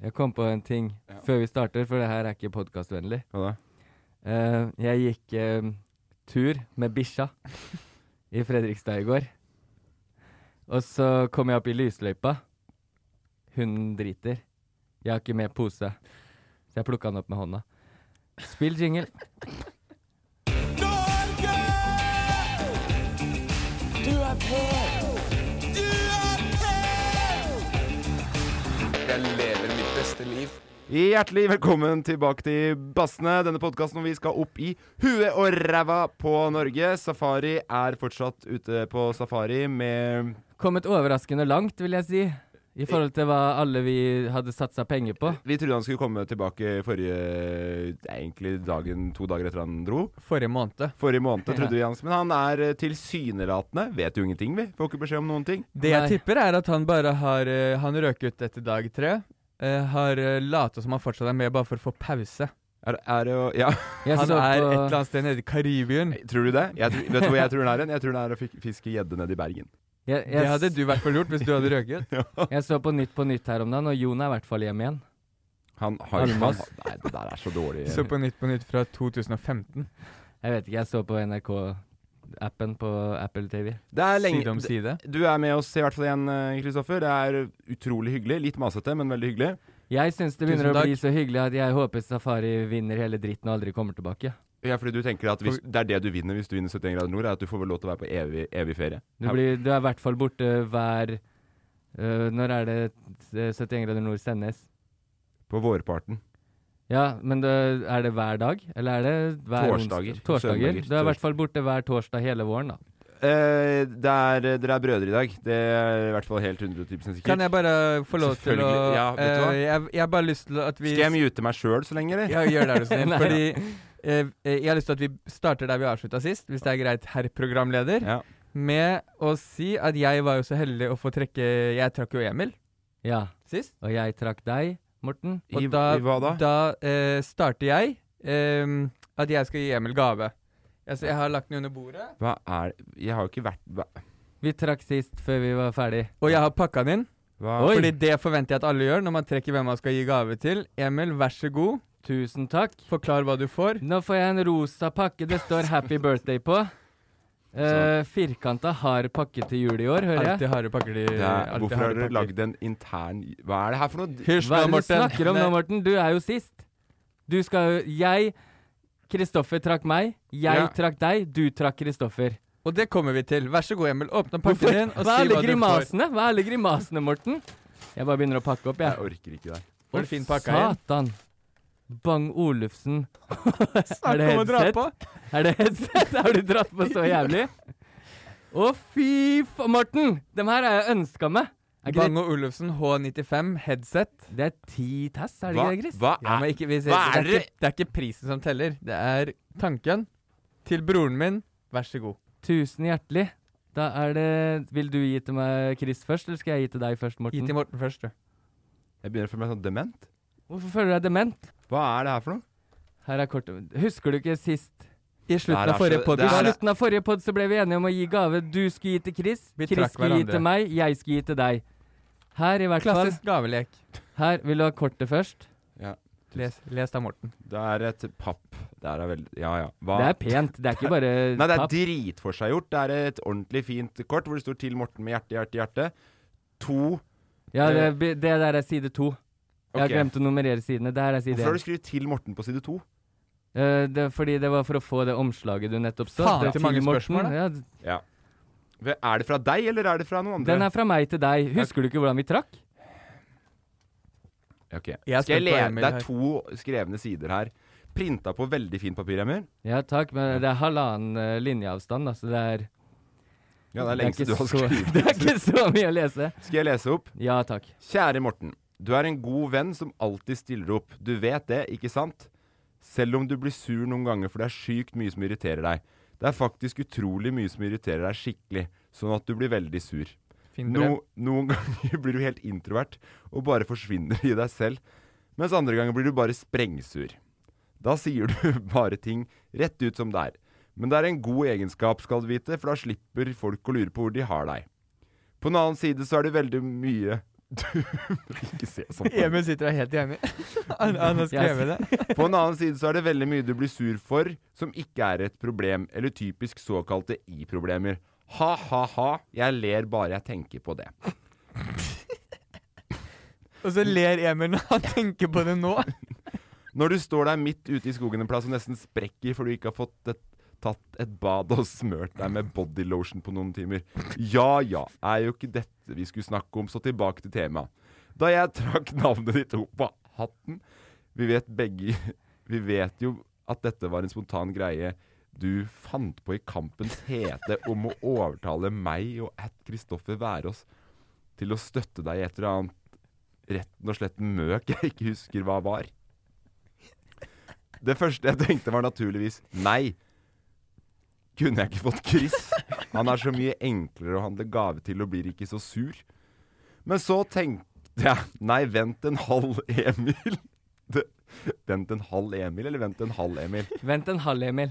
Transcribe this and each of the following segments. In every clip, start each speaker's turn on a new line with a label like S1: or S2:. S1: Jeg kom på en ting før vi starter, for det her er ikke podkastvennlig.
S2: Hva da?
S1: Eh, jeg gikk eh, tur med bikkja i Fredrikstad i går. Og så kom jeg opp i lysløypa. Hunden driter. Jeg har ikke med pose, så jeg plukka den opp med hånda. Spill jingle.
S2: Hjertelig velkommen tilbake til Bassene, denne podkasten hvor vi skal opp i huet og ræva på Norge. Safari er fortsatt ute på safari med
S1: Kommet overraskende langt, vil jeg si.
S3: Eh.
S1: I forhold til hva alle vi hadde satsa penger på.
S2: Vi trodde han skulle komme tilbake forrige Egentlig dagen, to dager etter han dro.
S3: Forrige måned.
S2: Forrige måned, trodde vi han Men han er eh, tilsynelatende Vet jo ingenting, vi. Får ikke beskjed om noen ting.
S3: Det jeg
S1: Nei.
S3: tipper, er at han bare har eh, Han røk ut etter dag tre. eh, har uh, lata som han fortsatt er med, bare for å få pause.
S2: Er, er det jo Ja,
S1: Jeg
S3: han
S1: så
S3: er
S1: på-
S3: et eller annet sted nede i Karibien.
S2: tror du det? Jeg, tror- vet du hvor jeg tror han er hen? Jeg tror han er å fik- fiske gjedde nede i Bergen.
S1: jeg, jeg,
S3: Det hadde du i hvert fall gjort hvis du hadde røket.
S1: Jeg så på Nytt på Nytt her om dagen, og Jon er i hvert fall hjemme igjen.
S2: Han har jo
S1: Almas.
S2: Nei, det der er så dårlig.
S3: Så på Nytt på Nytt fra 2015,
S1: Jeg vet ikke, jeg så på NRK-appen på Apple TV.
S2: Det er
S3: side om
S2: lenge
S3: side.
S2: Du er med oss i hvert fall igjen, eh, Kristoffer. Det er utrolig hyggelig. Litt masete, men veldig hyggelig.
S1: Jeg syns det begynner
S3: Tusen
S1: å bli
S3: takk.
S1: så hyggelig at jeg håper Safari vinner hele dritten og aldri kommer tilbake.
S2: Ja, fordi du tenker at hvis, Det er det du vinner hvis du vinner 71 grader nord, er at du får vel lov til å være på evig, evig ferie.
S1: Du, blir, du er i hvert fall borte hver øh, Når er det eh, 71 grader nord sendes?
S2: På vårparten.
S1: Ja, men det, er det hver dag? Eller er det hver onsdag-
S2: Torsdager.
S1: Torsdager.
S2: Søndager.
S1: Du er i hvert fall borte hver torsdag hele våren, da.
S2: Eh, det er, dere er brødre i dag. Det er i hvert fall helt 110 sikkert.
S3: Kan jeg bare få lov til å
S2: Selvfølgelig. Ja, vet du hva?
S3: eh, jeg, jeg har bare lyst til at vi
S2: Skal jeg mute meg sjøl så lenge, eller?
S3: Ja, gjør det, er du snill.
S1: Nei,
S3: Fordi eh, eh, jeg har lyst til at vi starter der vi avslutta sist, hvis det er greit, herr programleder,
S2: Ja.
S3: med å si at jeg var jo så heldig å få trekke Jeg trakk jo Emil
S1: Ja.
S3: sist.
S1: Og jeg trakk deg, Morten.
S2: I,
S3: Og da,
S2: I hva da?
S3: eh, starter jeg ehm, at jeg skal gi Emil gave. Altså, jeg har lagt den under bordet,
S2: Hva er Jeg har jo ikke vært hva,
S1: Vi trakk sist før vi var ferdig.
S3: og jeg har pakka den inn.
S2: hva?
S1: Oi.
S3: Fordi det forventer jeg at alle gjør når man trekker hvem man skal gi gave til. Emil, vær så god,
S1: Tusen takk.
S3: forklar hva du får.
S1: Nå får jeg en rosa pakke det står 'Happy Birthday' på. Uh, firkanta har pakke til jul i år, hører jeg.
S3: Alltid harde pakker de
S2: Det er,
S3: alltid
S2: hvorfor
S3: harde
S2: har dere
S3: pakker.
S2: lagd en intern Hva er det her for noe?
S3: Hysj
S1: Hva
S3: nå,
S1: er det du
S3: Morten.
S1: snakker om nå, Morten? Du er jo sist. Du skal jo Jeg Kristoffer trakk meg. Jeg
S2: Ja.
S1: trakk deg. Du trakk Kristoffer.
S3: Og det kommer vi til. Vær så god, Emil. Åpne
S1: Hvorfor-
S3: pakken din og
S1: Hva er
S3: si
S1: alle
S3: hva du får.
S1: grimasene? Hva er alle grimasene, Morten? Jeg bare begynner å pakke opp, jeg.
S2: Jeg orker ikke det.
S3: Var det fin pakka inn?
S1: Satan. Bang Olufsen. er det
S3: Snakk om å dra
S1: headset?
S3: på.
S1: Er det headset? Har du dratt på så jævlig? Å, fy faen, Morten! Dem her har jeg ønska meg. Er ikke det
S3: Bang og Olufsen H95 headset.
S1: Det er ti tass, er det ikke
S2: Hva,
S1: det, Chris?
S2: hva
S3: Ja,
S2: er
S3: men ikke, vi ser,
S2: hva er
S3: det, er ikke, det er ikke prisen som teller, det er tanken. Til broren min, vær så god.
S1: Tusen hjertelig. Da er det Vil du gi til meg, Chris, først, eller skal jeg gi til deg først, Morten?
S3: Gi til Morten først, du.
S2: Jeg begynner å føle meg sånn dement.
S1: Hvorfor føler du deg dement?
S2: Hva er det her for noe?
S1: Her er kortet. Husker du ikke sist?
S3: I slutten
S2: Det her
S3: av
S2: er så-
S3: forrige
S1: I
S2: det her
S3: podkast
S2: er-
S1: slutten av forrige pod så ble vi enige om å gi gave. Du skulle gi til Chris,
S3: Vi
S1: Chris
S3: trakk
S1: skulle gi
S3: hverandre.
S1: til meg, jeg skulle gi til deg. Her i hvert
S3: Klassisk gavelek.
S1: fall. Her vil du ha kortet først.
S3: Les, les da, Morten.
S2: Det er et papp. Det er veldig Ja, ja. Hva?
S1: Det er pent, det er ikke bare
S2: Nei, det er
S1: papp.
S2: dritforseggjort. Det er et ordentlig fint kort hvor det står 'Til Morten' med hjerte, hjerte, hjerte. To
S1: Ja, det, er bi- det der er side to. Jeg har
S2: Ok.
S1: glemt å nummerere sidene. Det her er side
S2: Hvorfor har du
S1: én.
S2: skrevet 'Til Morten' på side to?
S1: Eh, det er fordi det var for å få det omslaget du nettopp så.
S3: Faen,
S1: Det er
S3: til mange
S1: Morten.
S3: spørsmål, da.
S1: Ja,
S2: Ja. Er det fra deg, eller er det fra noen andre?
S1: den er fra meg til deg. Husker du ikke hvordan vi trakk?
S2: Ok.
S3: Jeg er
S2: Skal jeg
S3: spent på
S2: le-
S3: Emil
S2: Det er
S3: her.
S2: to skrevne sider her. Printa på veldig fint papir, Emil.
S1: Ja takk, men det er halvannen eh, linjeavstand, da, så det er
S2: Ja, det er
S1: ikke
S2: lengste du har
S1: så-
S2: skrevet.
S1: Det er ikke så mye å lese.
S2: Skal jeg lese opp?
S1: Ja takk.
S2: Kjære Morten. Du er en god venn som alltid stiller opp. Du vet det, ikke sant? Selv om du blir sur noen ganger, for det er sykt mye som irriterer deg. Det er faktisk utrolig mye som irriterer deg skikkelig, sånn at du blir veldig sur.
S3: Fin brev.
S2: No, noen ganger blir du helt introvert og bare forsvinner i deg selv, mens andre ganger blir du bare sprengsur. Da sier du bare ting rett ut som det er. Men det er en god egenskap, skal du vite, for da slipper folk å lure på hvor de har deg. På den annen side så er det veldig mye du Ikke se sånn. på meg.
S3: Emil sitter her helt enig. Han, han har skrevet det.
S2: På den annen side så er det veldig mye du blir sur for som ikke er et problem, eller typisk såkalte i-problemer. Ha, ha, ha. Jeg ler bare jeg tenker på det.
S3: Og så ler Emil når han tenker på det nå.
S2: Når du står der midt ute i skogen en plass og nesten sprekker fordi du ikke har fått et, tatt et bad og smørt deg med bodylotion på noen timer. Ja ja, er jo ikke dette vi skulle snakke om, så tilbake til temaet. Da jeg trakk navnet ditt opp av hatten Vi vet begge Vi vet jo at dette var en spontan greie du fant på i kampens hete om å overtale meg og at Kristoffer Værås til å støtte deg i et eller annet retten og slett møk jeg ikke husker hva var. Det første jeg tenkte var naturligvis nei. Kunne jeg ikke fått Chris? Han er så mye enklere å handle gave til og blir ikke så sur. Men så tenkte jeg nei, vent en halv Emil. Det- Vent en halv Emil, eller vent en halv Emil?
S1: Vent en halv, Emil.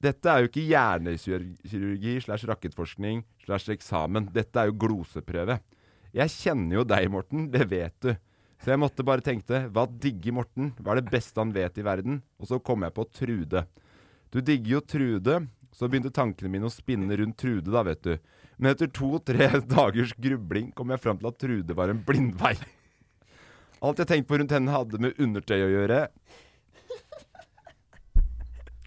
S2: Dette er jo ikke hjernekirurgi slash rakettforskning slash eksamen. Dette er jo gloseprøve. Jeg kjenner jo deg, Morten. Det vet du. Så jeg måtte bare tenke hva digger Morten? Hva er det beste han vet i verden? Og så kom jeg på Trude. Du digger jo Trude. Så begynte tankene mine å spinne rundt Trude, da, vet du. Men etter to-tre dagers grubling kom jeg fram til at Trude var en blindvei. Alt jeg tenkte på rundt henne, hadde med undertøy å gjøre.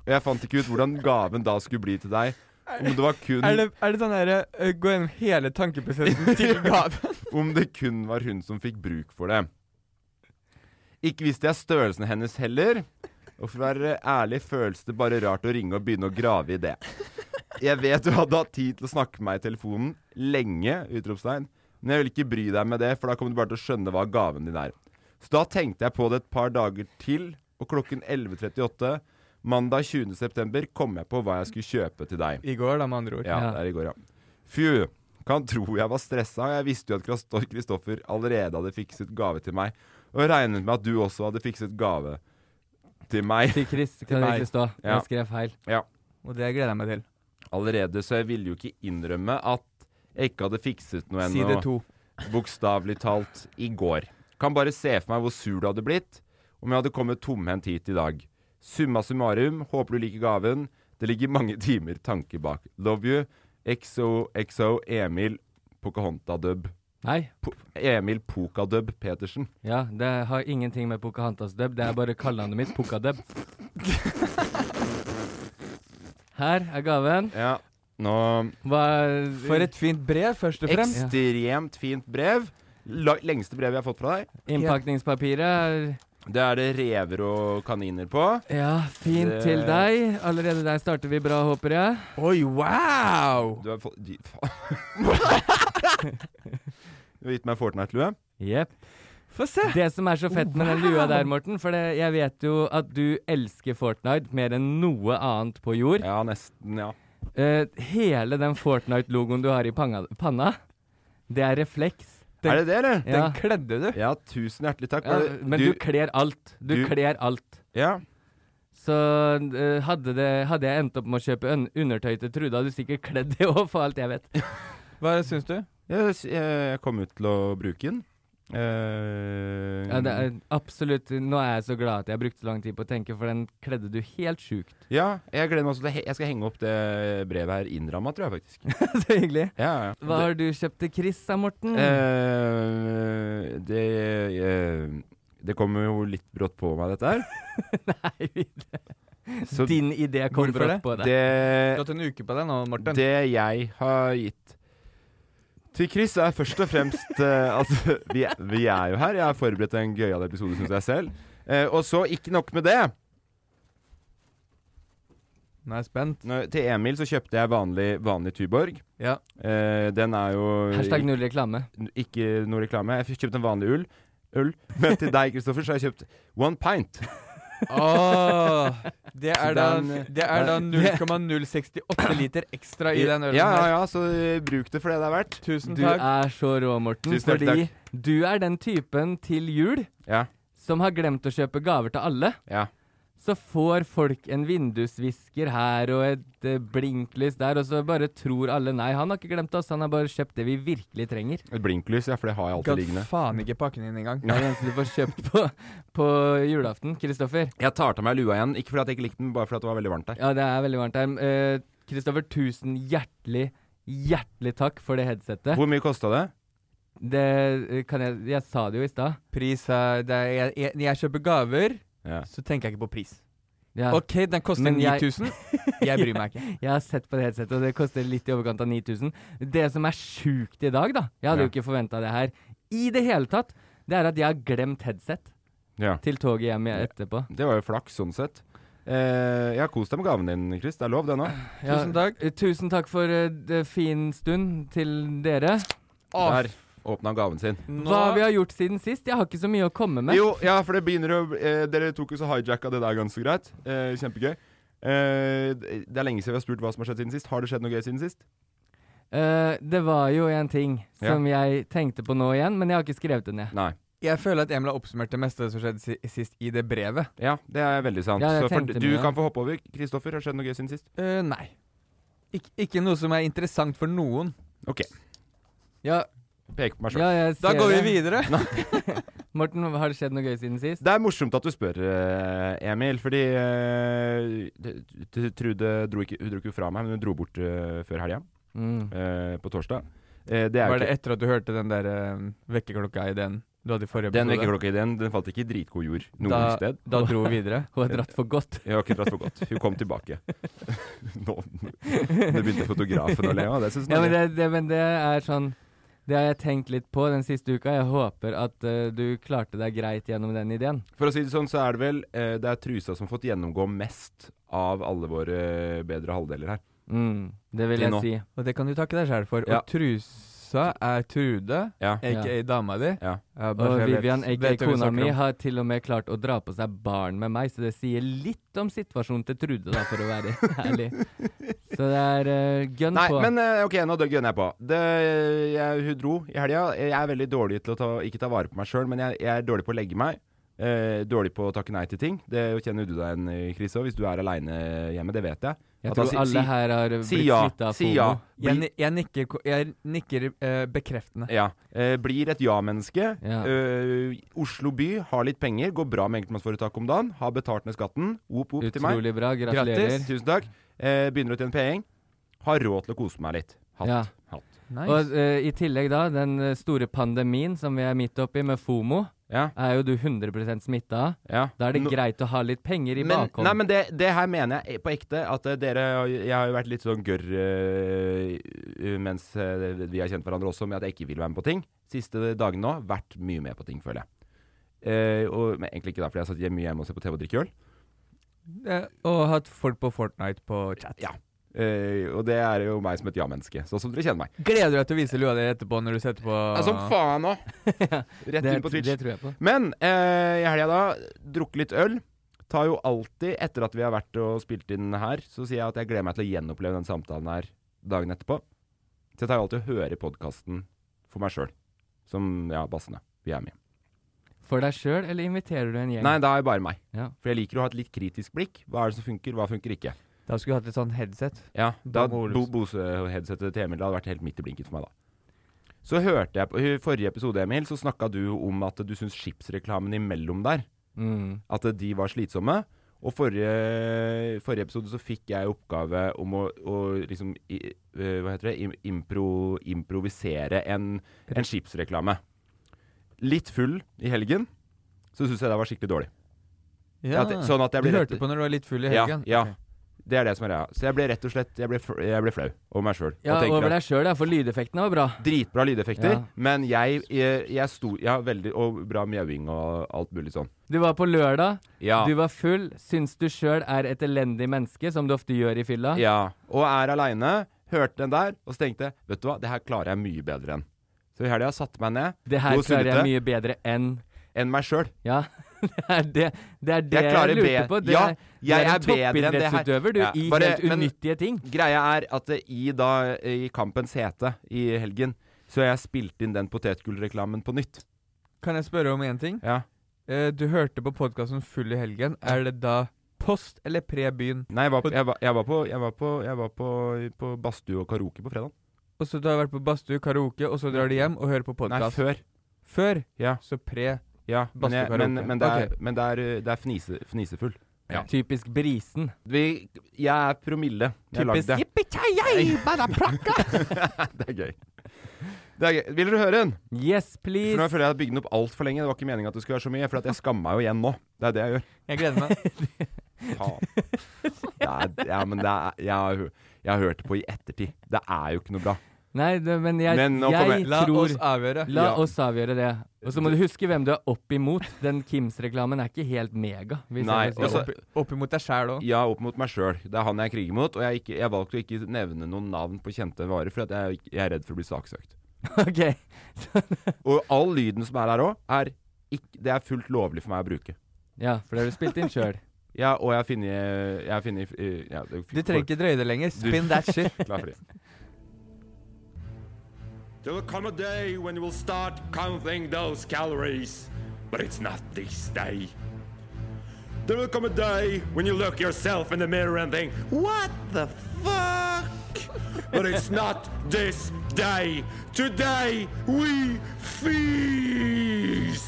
S2: Og jeg fant ikke ut hvordan gaven da skulle bli til deg. Om det var kun
S3: Er det, er det sånn derre øh, Gå gjennom hele tankeprosessen til gaven.
S2: om det kun var hun som fikk bruk for det. Ikke visste jeg størrelsen hennes heller, og for å være ærlig føles det bare rart å ringe og begynne å grave i det. Jeg vet du hadde hatt tid til å snakke med meg i telefonen lenge, utropstegn, men jeg vil ikke bry deg med det, for da kommer du bare til å skjønne hva gaven din er. Så da tenkte jeg på det et par dager til, og klokken 11.38 mandag 20. september kom jeg på hva jeg skulle kjøpe til deg.
S3: I går, da, med andre ord.
S2: Ja,
S1: Ja.
S2: det er i går, ja. Fy, kan tro jeg var stressa. Jeg visste jo at Krasto- Kristoffer allerede hadde fikset gave til meg, og regnet med at du også hadde fikset gave til meg.
S1: Til Chris
S2: Til
S1: kan det
S2: meg.
S1: ikke stå.
S2: Ja.
S1: Jeg skrev feil.
S2: Ja,
S3: Og det gleder jeg meg til.
S2: allerede, så jeg ville jo ikke innrømme at jeg ikke hadde fikset noe
S3: Side
S2: ennå,
S3: to.
S2: bokstavelig talt, i går. Kan bare se for meg hvor sur du hadde blitt om jeg hadde kommet tomhendt hit i dag. Summa summarum, håper du liker gaven. Det ligger mange timer tanke bak. Love you. XOXO Emil Pocahonta-dub.
S1: Nei.
S2: Po Emil Pokadub Petersen.
S1: Ja, det har ingenting med Pocahontas dub. Det er bare kallenavnet mitt, Pocadub. Her er gaven.
S2: Ja. Nå
S1: Hva
S3: For et fint brev, først og fremst.
S2: Ekstremt fint brev. La lengste brevet jeg har fått fra deg.
S1: Innpakningspapiret er
S2: Det er det rever og kaniner på.
S1: Ja, fint
S2: Det-
S1: til deg. Allerede der starter vi bra, håper jeg.
S3: Oi, wow!
S2: Du har fått de, Faen. Du har gitt meg en Fortnite-lue.
S1: Jepp.
S3: Få se.
S1: Det som er så fett med den lua der, Morten, for det, jeg vet jo at du elsker Fortnite mer enn noe annet på jord.
S2: Ja, nesten, ja.
S1: eh, hele den Fortnite-logoen du har i panga, panna, det er refleks.
S3: Den-
S2: Er det det, eller?
S1: Ja.
S3: Den kledde du.
S2: Ja, tusen hjertelig takk.
S1: Ja,
S2: Var det-
S1: men du, kler alt. Du,
S2: du-
S1: kler alt.
S2: Ja.
S1: Så eh, hadde, det, hadde jeg endt opp med å kjøpe un undertøy til Trude, hadde du sikkert kledd det òg, for alt jeg vet.
S3: Hva syns du?
S2: Jeg, s- jeg kommer til å bruke den. Eh,
S1: Ja, det er absolutt Nå er jeg så glad at jeg brukte så lang tid på å tenke, for den kledde du helt sjukt.
S2: ja, jeg gleder meg også til å he- Jeg skal henge opp det brevet her innramma, tror jeg faktisk.
S1: så hyggelig.
S2: Ja, ja.
S1: Hva har du kjøpt til Chris da, Morten?
S2: Eh, det eh, Det kommer jo litt brått på meg, dette her.
S1: Nei, vi-
S2: Så
S1: Din idé kom
S3: Hvorfor
S1: brått
S3: det?
S1: på deg.
S3: Du har
S2: det,
S3: hatt en uke på deg nå, Morten.
S2: det jeg har gitt til Chris, er først og fremst eh, Altså, vi, er- vi er jo her. Jeg har forberedt en gøyal episode, syns jeg selv. Eh, og så, ikke nok med det.
S3: Nå er jeg spent.
S2: Nå, til Emil så kjøpte jeg vanlig, vanlig Tuborg.
S3: Ja.
S2: Eh, den er jo
S1: Hashtag null reklame.
S2: ik- ikke noe reklame. Jeg fikk kjøpt en vanlig ull. Øl. Men til deg, Kristoffer, så har jeg kjøpt One Pint.
S3: Åh, det er da,
S2: Den-
S3: det er da
S2: den-
S3: 0,068 liter ekstra i den ølen
S2: ja, ja,
S3: her.
S2: ja, så eh, bruk det for det det er verdt.
S3: Tusen
S1: Du
S3: takk.
S1: er så rå, Morten,
S2: Tusen takk,
S1: fordi du er den typen til jul
S2: Ja,
S1: som har glemt å kjøpe gaver til alle.
S2: ja.
S1: Så får folk en vindusvisker her og et eh, blinklys der, og så bare tror alle nei, han har ikke glemt oss, han har bare kjøpt det vi virkelig trenger.
S2: Et blinklys, ja, for det har jeg alltid
S3: Gadd
S2: liggende.
S3: faen ikke pakken din engang.
S1: Det er det eneste du får kjøpt på, på julaften, Kristoffer.
S2: Jeg tar av meg lua igjen, ikke fordi jeg ikke likte den, bare fordi det var veldig varmt der.
S1: Ja, det er veldig varmt her. Eh, Kristoffer, tusen hjertelig, hjertelig takk for det headsetet.
S2: Hvor mye kosta det?
S1: Det eh, kan jeg Jeg sa det jo i stad.
S3: Pris er, det er jeg, jeg, Når jeg kjøper gaver,
S2: Ja.
S3: så tenker jeg ikke på pris.
S1: Ja.
S3: OK, den koster
S1: Men jeg-
S3: 9000. Jeg bryr meg ikke.
S1: Jeg har sett på det headsetet, og det koster litt i overkant av 9000. Det som er sjukt i dag, da Jeg hadde
S2: Ja.
S1: jo ikke forventa det her i det hele tatt. Det er at jeg har glemt headset
S2: ja.
S1: til toget hjem jeg- etterpå.
S2: Det var jo flaks, sånn sett. Eh, jeg har kost deg med gaven din, Chris. Det er lov, det nå.
S1: Ja,
S3: Tusen takk.
S1: eh, Tusen takk for eh, det fin stund til dere.
S3: Åh,
S2: Der åpna han gaven sin.
S3: nå-
S1: Hva vi har gjort siden sist? Jeg har ikke så mye å komme med.
S2: Jo, ja, for det begynner å eh, Dere tok jo så hijacka det der ganske greit. Eh, kjempegøy. Eh, det det er lenge siden vi har spurt hva som har skjedd siden sist. Har det skjedd noe gøy siden sist?
S1: Eh, det var jo en ting som jeg tenkte på nå igjen, men jeg har ikke skrevet det ned.
S2: Nei.
S3: Jeg føler at Emil har oppsummert det meste som skjedde si- sist i det brevet.
S2: Ja, det er veldig sant.
S1: Ja, jeg
S2: så for,
S1: tenkte
S2: du
S1: med det.
S2: kan få hoppe over. Kristoffer, har det skjedd noe gøy siden sist?
S3: Eh, nei. Ik ikke noe som er interessant for noen.
S2: OK.
S1: Ja,
S2: Pek på meg sjøl.
S1: ja jeg ser
S3: Da går vi
S1: det.
S3: videre.
S1: Morten, har det skjedd noe gøy siden sist?
S2: Det er morsomt at du spør, eh, Emil, fordi eh, det- det- Trude dro ikke, hun dro ikke fra meg, men hun dro bort eh, før helga,
S1: Mm.
S2: eh, på torsdag. Eh, det er jo
S3: Var det
S2: ikke
S3: etter at du hørte den der eh, vekkerklokka-ideen du hadde i forrige
S2: Den
S3: episode?
S2: vekkerklokkeideen den falt ikke i dritgod jord noe
S3: Da-
S2: sted.
S3: Da dro vi videre.
S1: Hun har dratt for godt.
S2: Jeg har ikke dratt for godt. Hun kom tilbake. Nå, det begynte fotografen å le av. Det syns
S1: Ja, men
S2: jeg.
S1: det, det, men det er sånn Det har jeg tenkt litt på den siste uka. Jeg håper at eh, du klarte deg greit gjennom den ideen.
S2: For å si det sånn, så er det vel eh, Det er trusa som har fått gjennomgå mest av alle våre eh, bedre halvdeler her.
S1: Mm, det vil
S2: Til
S1: jeg
S2: nå.
S1: si.
S3: Og det kan du takke deg sjæl for.
S2: Ja.
S3: Og trusa er Trude,
S2: Ja.
S3: aka dama di.
S2: Ja.
S3: Ja, bare
S1: Og
S3: så jeg vet-
S1: Vivian, aka
S3: vet hva vi
S1: kona
S3: snakker
S1: mi,
S3: om.
S1: har til og med klart å dra på seg barn med meg, så det sier litt om situasjonen til Trude, da, for å være ærlig. Så det er eh, gun
S2: Nei,
S1: på.
S2: men eh, ok, nå gønner jeg på. Det, jeg, hun dro i helga. Jeg er veldig dårlig til å ta, ikke ta vare på meg sjøl, men jeg, jeg er dårlig på å legge meg. Eh, dårlig på å takke nei til ting. Det kjenner du deg igjen i, Chris òg, hvis du er aleine hjemme. Det vet jeg.
S1: jeg
S2: At da
S1: tror
S2: si-
S1: alle
S2: si-
S1: her har blitt
S2: Si ja.
S1: smittet av
S2: Si
S1: FOMO.
S2: ja.
S3: jeg, ni- jeg nikker, ko- jeg nikker eh, bekreftende.
S2: Ja. Eh, blir et ja-menneske.
S1: Ja.
S2: Eh, Oslo by har litt penger, går bra med enkeltmannsforetak om dagen. Har betalt ned skatten. Op, op til meg.
S1: Utrolig bra. Gratulerer.
S2: Grattis. Tusen takk. Eh, begynner å tjene penger. Har råd til å kose meg litt. Hatt.
S1: Ja.
S2: Hatt.
S3: Nice.
S1: Og eh, i tillegg da, den eh, store pandemien som vi er midt oppi med FOMO,
S2: Ja.
S1: er jo du 100 smitta av.
S2: ja.
S1: Da er det
S2: Nå-
S1: greit å ha litt penger i
S2: men,
S1: bakhånd.
S2: Nei, men det, det her mener jeg på ekte. At eh, dere Jeg har jo vært litt sånn gørr eh, mens eh, vi har kjent hverandre også, med at jeg ikke vil være med på ting. Siste dagene nå vært mye med på ting, føler jeg. Eh, og, men egentlig ikke da, fordi jeg har satt mye hjemme og sett på TV og drikket øl.
S3: Eh, og hatt folk på Fortnite på chat.
S2: Ja. Eh, og det er jo meg som et ja-menneske, sånn som dere kjenner meg.
S3: Gleder du deg til å vise lua di etterpå når du setter på
S2: Ja, som faen òg! Rett
S1: det,
S2: inn på Twitch.
S1: det tror jeg på.
S2: Men eh, i helga, da, drukket litt øl. tar jo alltid, etter at vi har vært og spilt inn her, så sier jeg at jeg gleder meg til å gjenoppleve den samtalen her dagen etterpå. Så jeg tar jo alltid og hører podkasten for meg sjøl. Som ja, bassene. Vi er med.
S1: For deg sjøl, eller inviterer du en gjeng?
S2: Nei, da er jeg bare meg.
S1: Ja.
S2: For jeg liker å ha et litt kritisk blikk. Hva er det som funker, hva funker ikke?
S3: Da skulle du hatt litt sånn headset.
S2: Ja, da
S3: Bang Olufsen.
S2: Bo- Bose-headsetet til Emil det hadde vært helt midt i blinken for meg da. Så hørte jeg på i forrige episode, Emil, så snakka du om at du syns chipsreklamen imellom der,
S1: Mm.
S2: at de var slitsomme. Og forrige, forrige episode så fikk jeg i oppgave om å, å liksom i, eh, Hva heter det? Im, impro, improvisere en, en chipsreklame. Litt full i helgen, så syns jeg det var skikkelig dårlig.
S3: Ja,
S2: At det- sånn at jeg
S3: Du
S2: blir
S3: hørte på når du var litt full i
S2: Ja,
S3: helgen?
S2: ja.
S3: Ok.
S2: Det er det som er greia. Så jeg ble rett og slett Jeg ble, f- jeg ble flau over meg sjøl.
S1: Ja, over deg sjøl, ja. For lydeffektene var bra.
S2: Dritbra lydeffekter,
S1: Ja.
S2: men jeg, jeg, jeg sto ja, veldig, Og bra mjauing og alt mulig sånn.
S1: Du var på lørdag,
S2: Ja.
S1: du var full. Syns du sjøl er et elendig menneske, som du ofte gjør i fylla?
S2: ja. Og er aleine. Hørte den der, og så tenkte jeg Vet du hva, det her klarer jeg mye bedre enn. Så i helga satte jeg meg ned,
S1: Det her
S2: God
S1: klarer jeg mye
S2: sunnete.
S1: bedre enn
S2: enn meg sjøl.
S1: Ja, det er det det, er det
S2: Jeg
S1: jeg,
S2: klarer
S1: lurte
S2: be-
S1: på. Det er,
S2: Ja, jeg
S1: du er en
S2: er bedre enn det her.
S1: toppidrettsutøver, du,
S2: Ja,
S1: i
S2: bare-
S1: helt
S2: men-
S1: unyttige ting.
S2: Greia er at eh, i, da, i kampens hete i helgen, så har jeg spilt inn den potetgullreklamen på nytt.
S3: Kan jeg spørre om én ting?
S2: Ja.
S3: Eh, du hørte på podkasten Full i helgen. Er det da post eller pre byen?
S2: Nei, jeg var, jeg var, jeg var på, jeg var på, jeg var på, på badstue og karaoke på fredag.
S3: Og så du har vært på badstue, karaoke, og så drar du hjem og hører på
S2: Nei,
S3: podkast?
S2: før.
S3: Før,
S2: Ja.
S3: så pre.
S2: Ja, men,
S3: Badstue
S2: jeg,
S3: karaoke.
S2: men, men det er,
S3: Ok.
S2: men det er, eh, det er fnise, fnisefull. Ja.
S1: Typisk brisen.
S2: Vi, jeg er promille. Jeg har
S1: Typisk
S2: lagd det.
S1: jippitjei, bare prakka.
S2: Det er gøy. Det er gøy. Vil dere høre en?
S1: Yes,
S2: For nå
S1: please.
S2: føler jeg at jeg har bygd den opp altfor lenge. Det var ikke meningen at det skulle være så mye, for at jeg skammer meg jo igjen nå. Det er det jeg gjør.
S3: Jeg gleder meg.
S2: Faen. Det er, ja, men det er, jeg, har, hø- jeg har hørt det på i ettertid. Det er jo ikke noe bra.
S1: Nei, det, men jeg,
S2: Men nå kommer
S1: jeg
S2: jeg.
S3: La
S1: tror
S3: oss avgjøre.
S1: La
S2: Ja.
S1: oss avgjøre det. Og så må du huske hvem du er opp imot. Den Kims-reklamen er ikke helt mega. hvis jeg
S2: Nei,
S1: får si det.
S2: altså-
S3: Opp, opp imot deg sjæl òg.
S2: Jeg er opp mot meg sjøl. Det er han jeg kriger mot. Og jeg, er ikke, jeg valgte å ikke nevne noen navn på kjente varer, for at jeg, er ikke- jeg er redd for å bli saksøkt.
S1: Ok.
S2: Og all lyden som er her òg, er ikk- Det er fullt lovlig for meg å bruke.
S1: Ja, for det har du spilt inn sjøl.
S2: Ja, og jeg har funnet Jeg har funnet eh, ja, det-
S3: Du trenger ikke drøye det lenger. Spin that shit.
S2: Klar for det.
S4: There will come a day when you will start counting those calories, but it's not this day. There will come a day when you look yourself in the mirror and think, What the fuck? but it's not this day. Today we feast!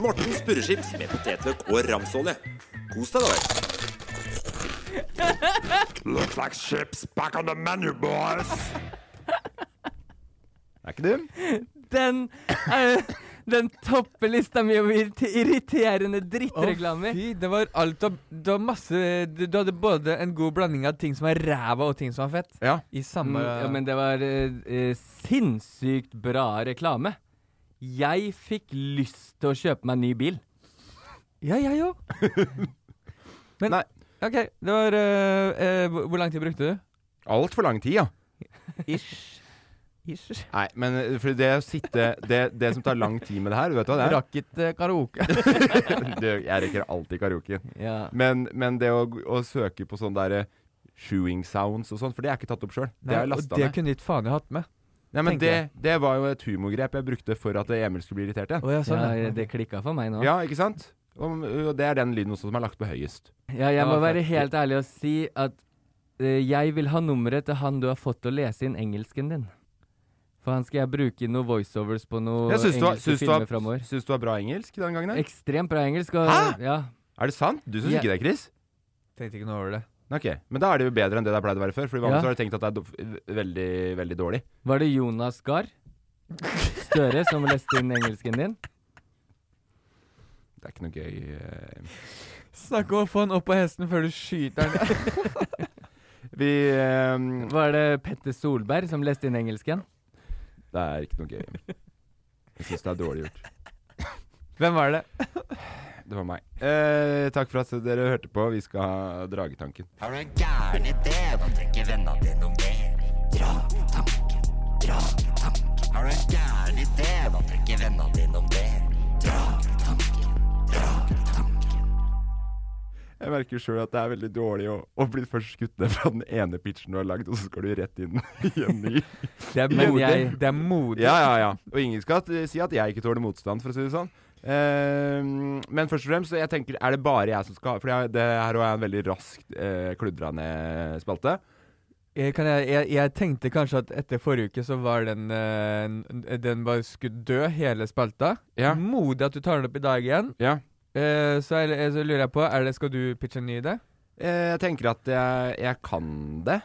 S5: Morten Spurreskips med potetløk og ramsolje. Kos deg, da vel.
S4: Looks like ship's back on the menu, boys!
S2: Er ikke dum.
S1: Den er den topper lista mi over irrit- irriterende
S3: Å,
S1: drittreklamer.
S3: fy, det var alt av Det var masse Du du hadde både en god blanding av ting som er ræva, og ting som er fett.
S2: Ja.
S3: I samme
S1: Mm, ja, men det var eh, eh, sinnssykt bra reklame. Jeg fikk lyst til å kjøpe meg en ny bil.
S3: Ja, jeg òg. Men
S2: Nei.
S3: OK, det var eh, eh, hvor- Hvor lang tid brukte du?
S2: Altfor lang tid, ja.
S3: Ish. Ish.
S2: Nei, men eh, for det å sitte Det, det som tar lang tid med det her, vet du hva det er?
S3: Rakket eh, karaoke.
S2: Det, jeg rekker alltid karaoke.
S1: Ja.
S2: Men, men det å, å søke på sånn derre Shoeing sounds og sånn, for det er ikke tatt opp sjøl. Det er
S3: Nei, og
S2: lasta
S3: det
S2: ned.
S3: kunne ditt faen jeg hatt med.
S2: Nei, men
S3: tenker
S2: det,
S3: jeg.
S2: det var jo et humorgrep jeg brukte for at Emil skulle bli irritert igjen.
S3: Å, ja, sånn,
S1: Ja,
S3: ja.
S1: det klikka for meg nå.
S2: Ja, ikke sant? Og, og det er den lyden også som er lagt på høyest.
S1: Ja, jeg må
S3: Ja,
S1: være
S3: fett.
S1: helt ærlig og si at eh, jeg vil ha nummeret til han du har fått til å lese inn engelsken din. For han skal jeg bruke i noen voiceovers på noen
S2: Jeg syns du, har-
S1: engelske
S2: syns du, har-
S1: filmer framover.
S2: syns du har bra engelsk den gangen? her?
S1: Ekstremt bra engelsk. Og,
S2: Hæ?
S1: Ja.
S2: Er det sant? Du syns
S1: Ja.
S2: ikke det, Chris?
S3: Tenkte ikke noe over det.
S2: Ok, Men da er det jo bedre enn det det pleide å være før. For vanligvis
S1: Ja.
S2: har du tenkt at det er do- veldig, veldig dårlig.
S1: Var det Jonas Gahr Støre som leste inn engelsken din?
S2: Det er ikke noe gøy. eh.
S3: Snakk om å få han opp på hesten før du skyter han.
S2: Vi eh,
S1: Var det Petter Solberg som leste inn engelsken?
S2: Det er ikke noe gøy. Jeg syns det er dårlig gjort.
S3: Hvem var det?
S2: Det var meg. Eh, takk for at dere hørte på. Vi skal ha Dragetanken.
S6: Har du en gæren idé? Hva tenker vennene dine om det? Dra tanken, dra tanken. Har du en gæren idé? Hva tenker vennene dine om det? Dra tanken, dra
S2: merker sjøl at det er veldig dårlig å, å bli først skutt ned fra den ene pitchen du har lagd, og så skal du rett inn i en ny.
S3: Det er
S1: Men
S3: modig.
S1: jeg-
S3: det er modig.
S2: Ja, ja, ja. Og ingen skal eh, si at jeg ikke tåler motstand, for å si det sånn. Eh, men først og fremst, så jeg tenker, er det bare jeg som skal For jeg, det her også er en veldig raskt eh, kludra ned spalte.
S3: Jeg, Eh, kan jeg, jeg, jeg tenkte kanskje at etter forrige uke så var den eh, n- Den bare skulle dø, hele spalta.
S2: Ja.
S3: Modig at du tar den opp i dag igjen.
S2: Ja.
S3: Eh, så, er, eh, så lurer jeg på, er det, skal du pitche en ny idé?
S2: Eh, jeg tenker at jeg, jeg kan det.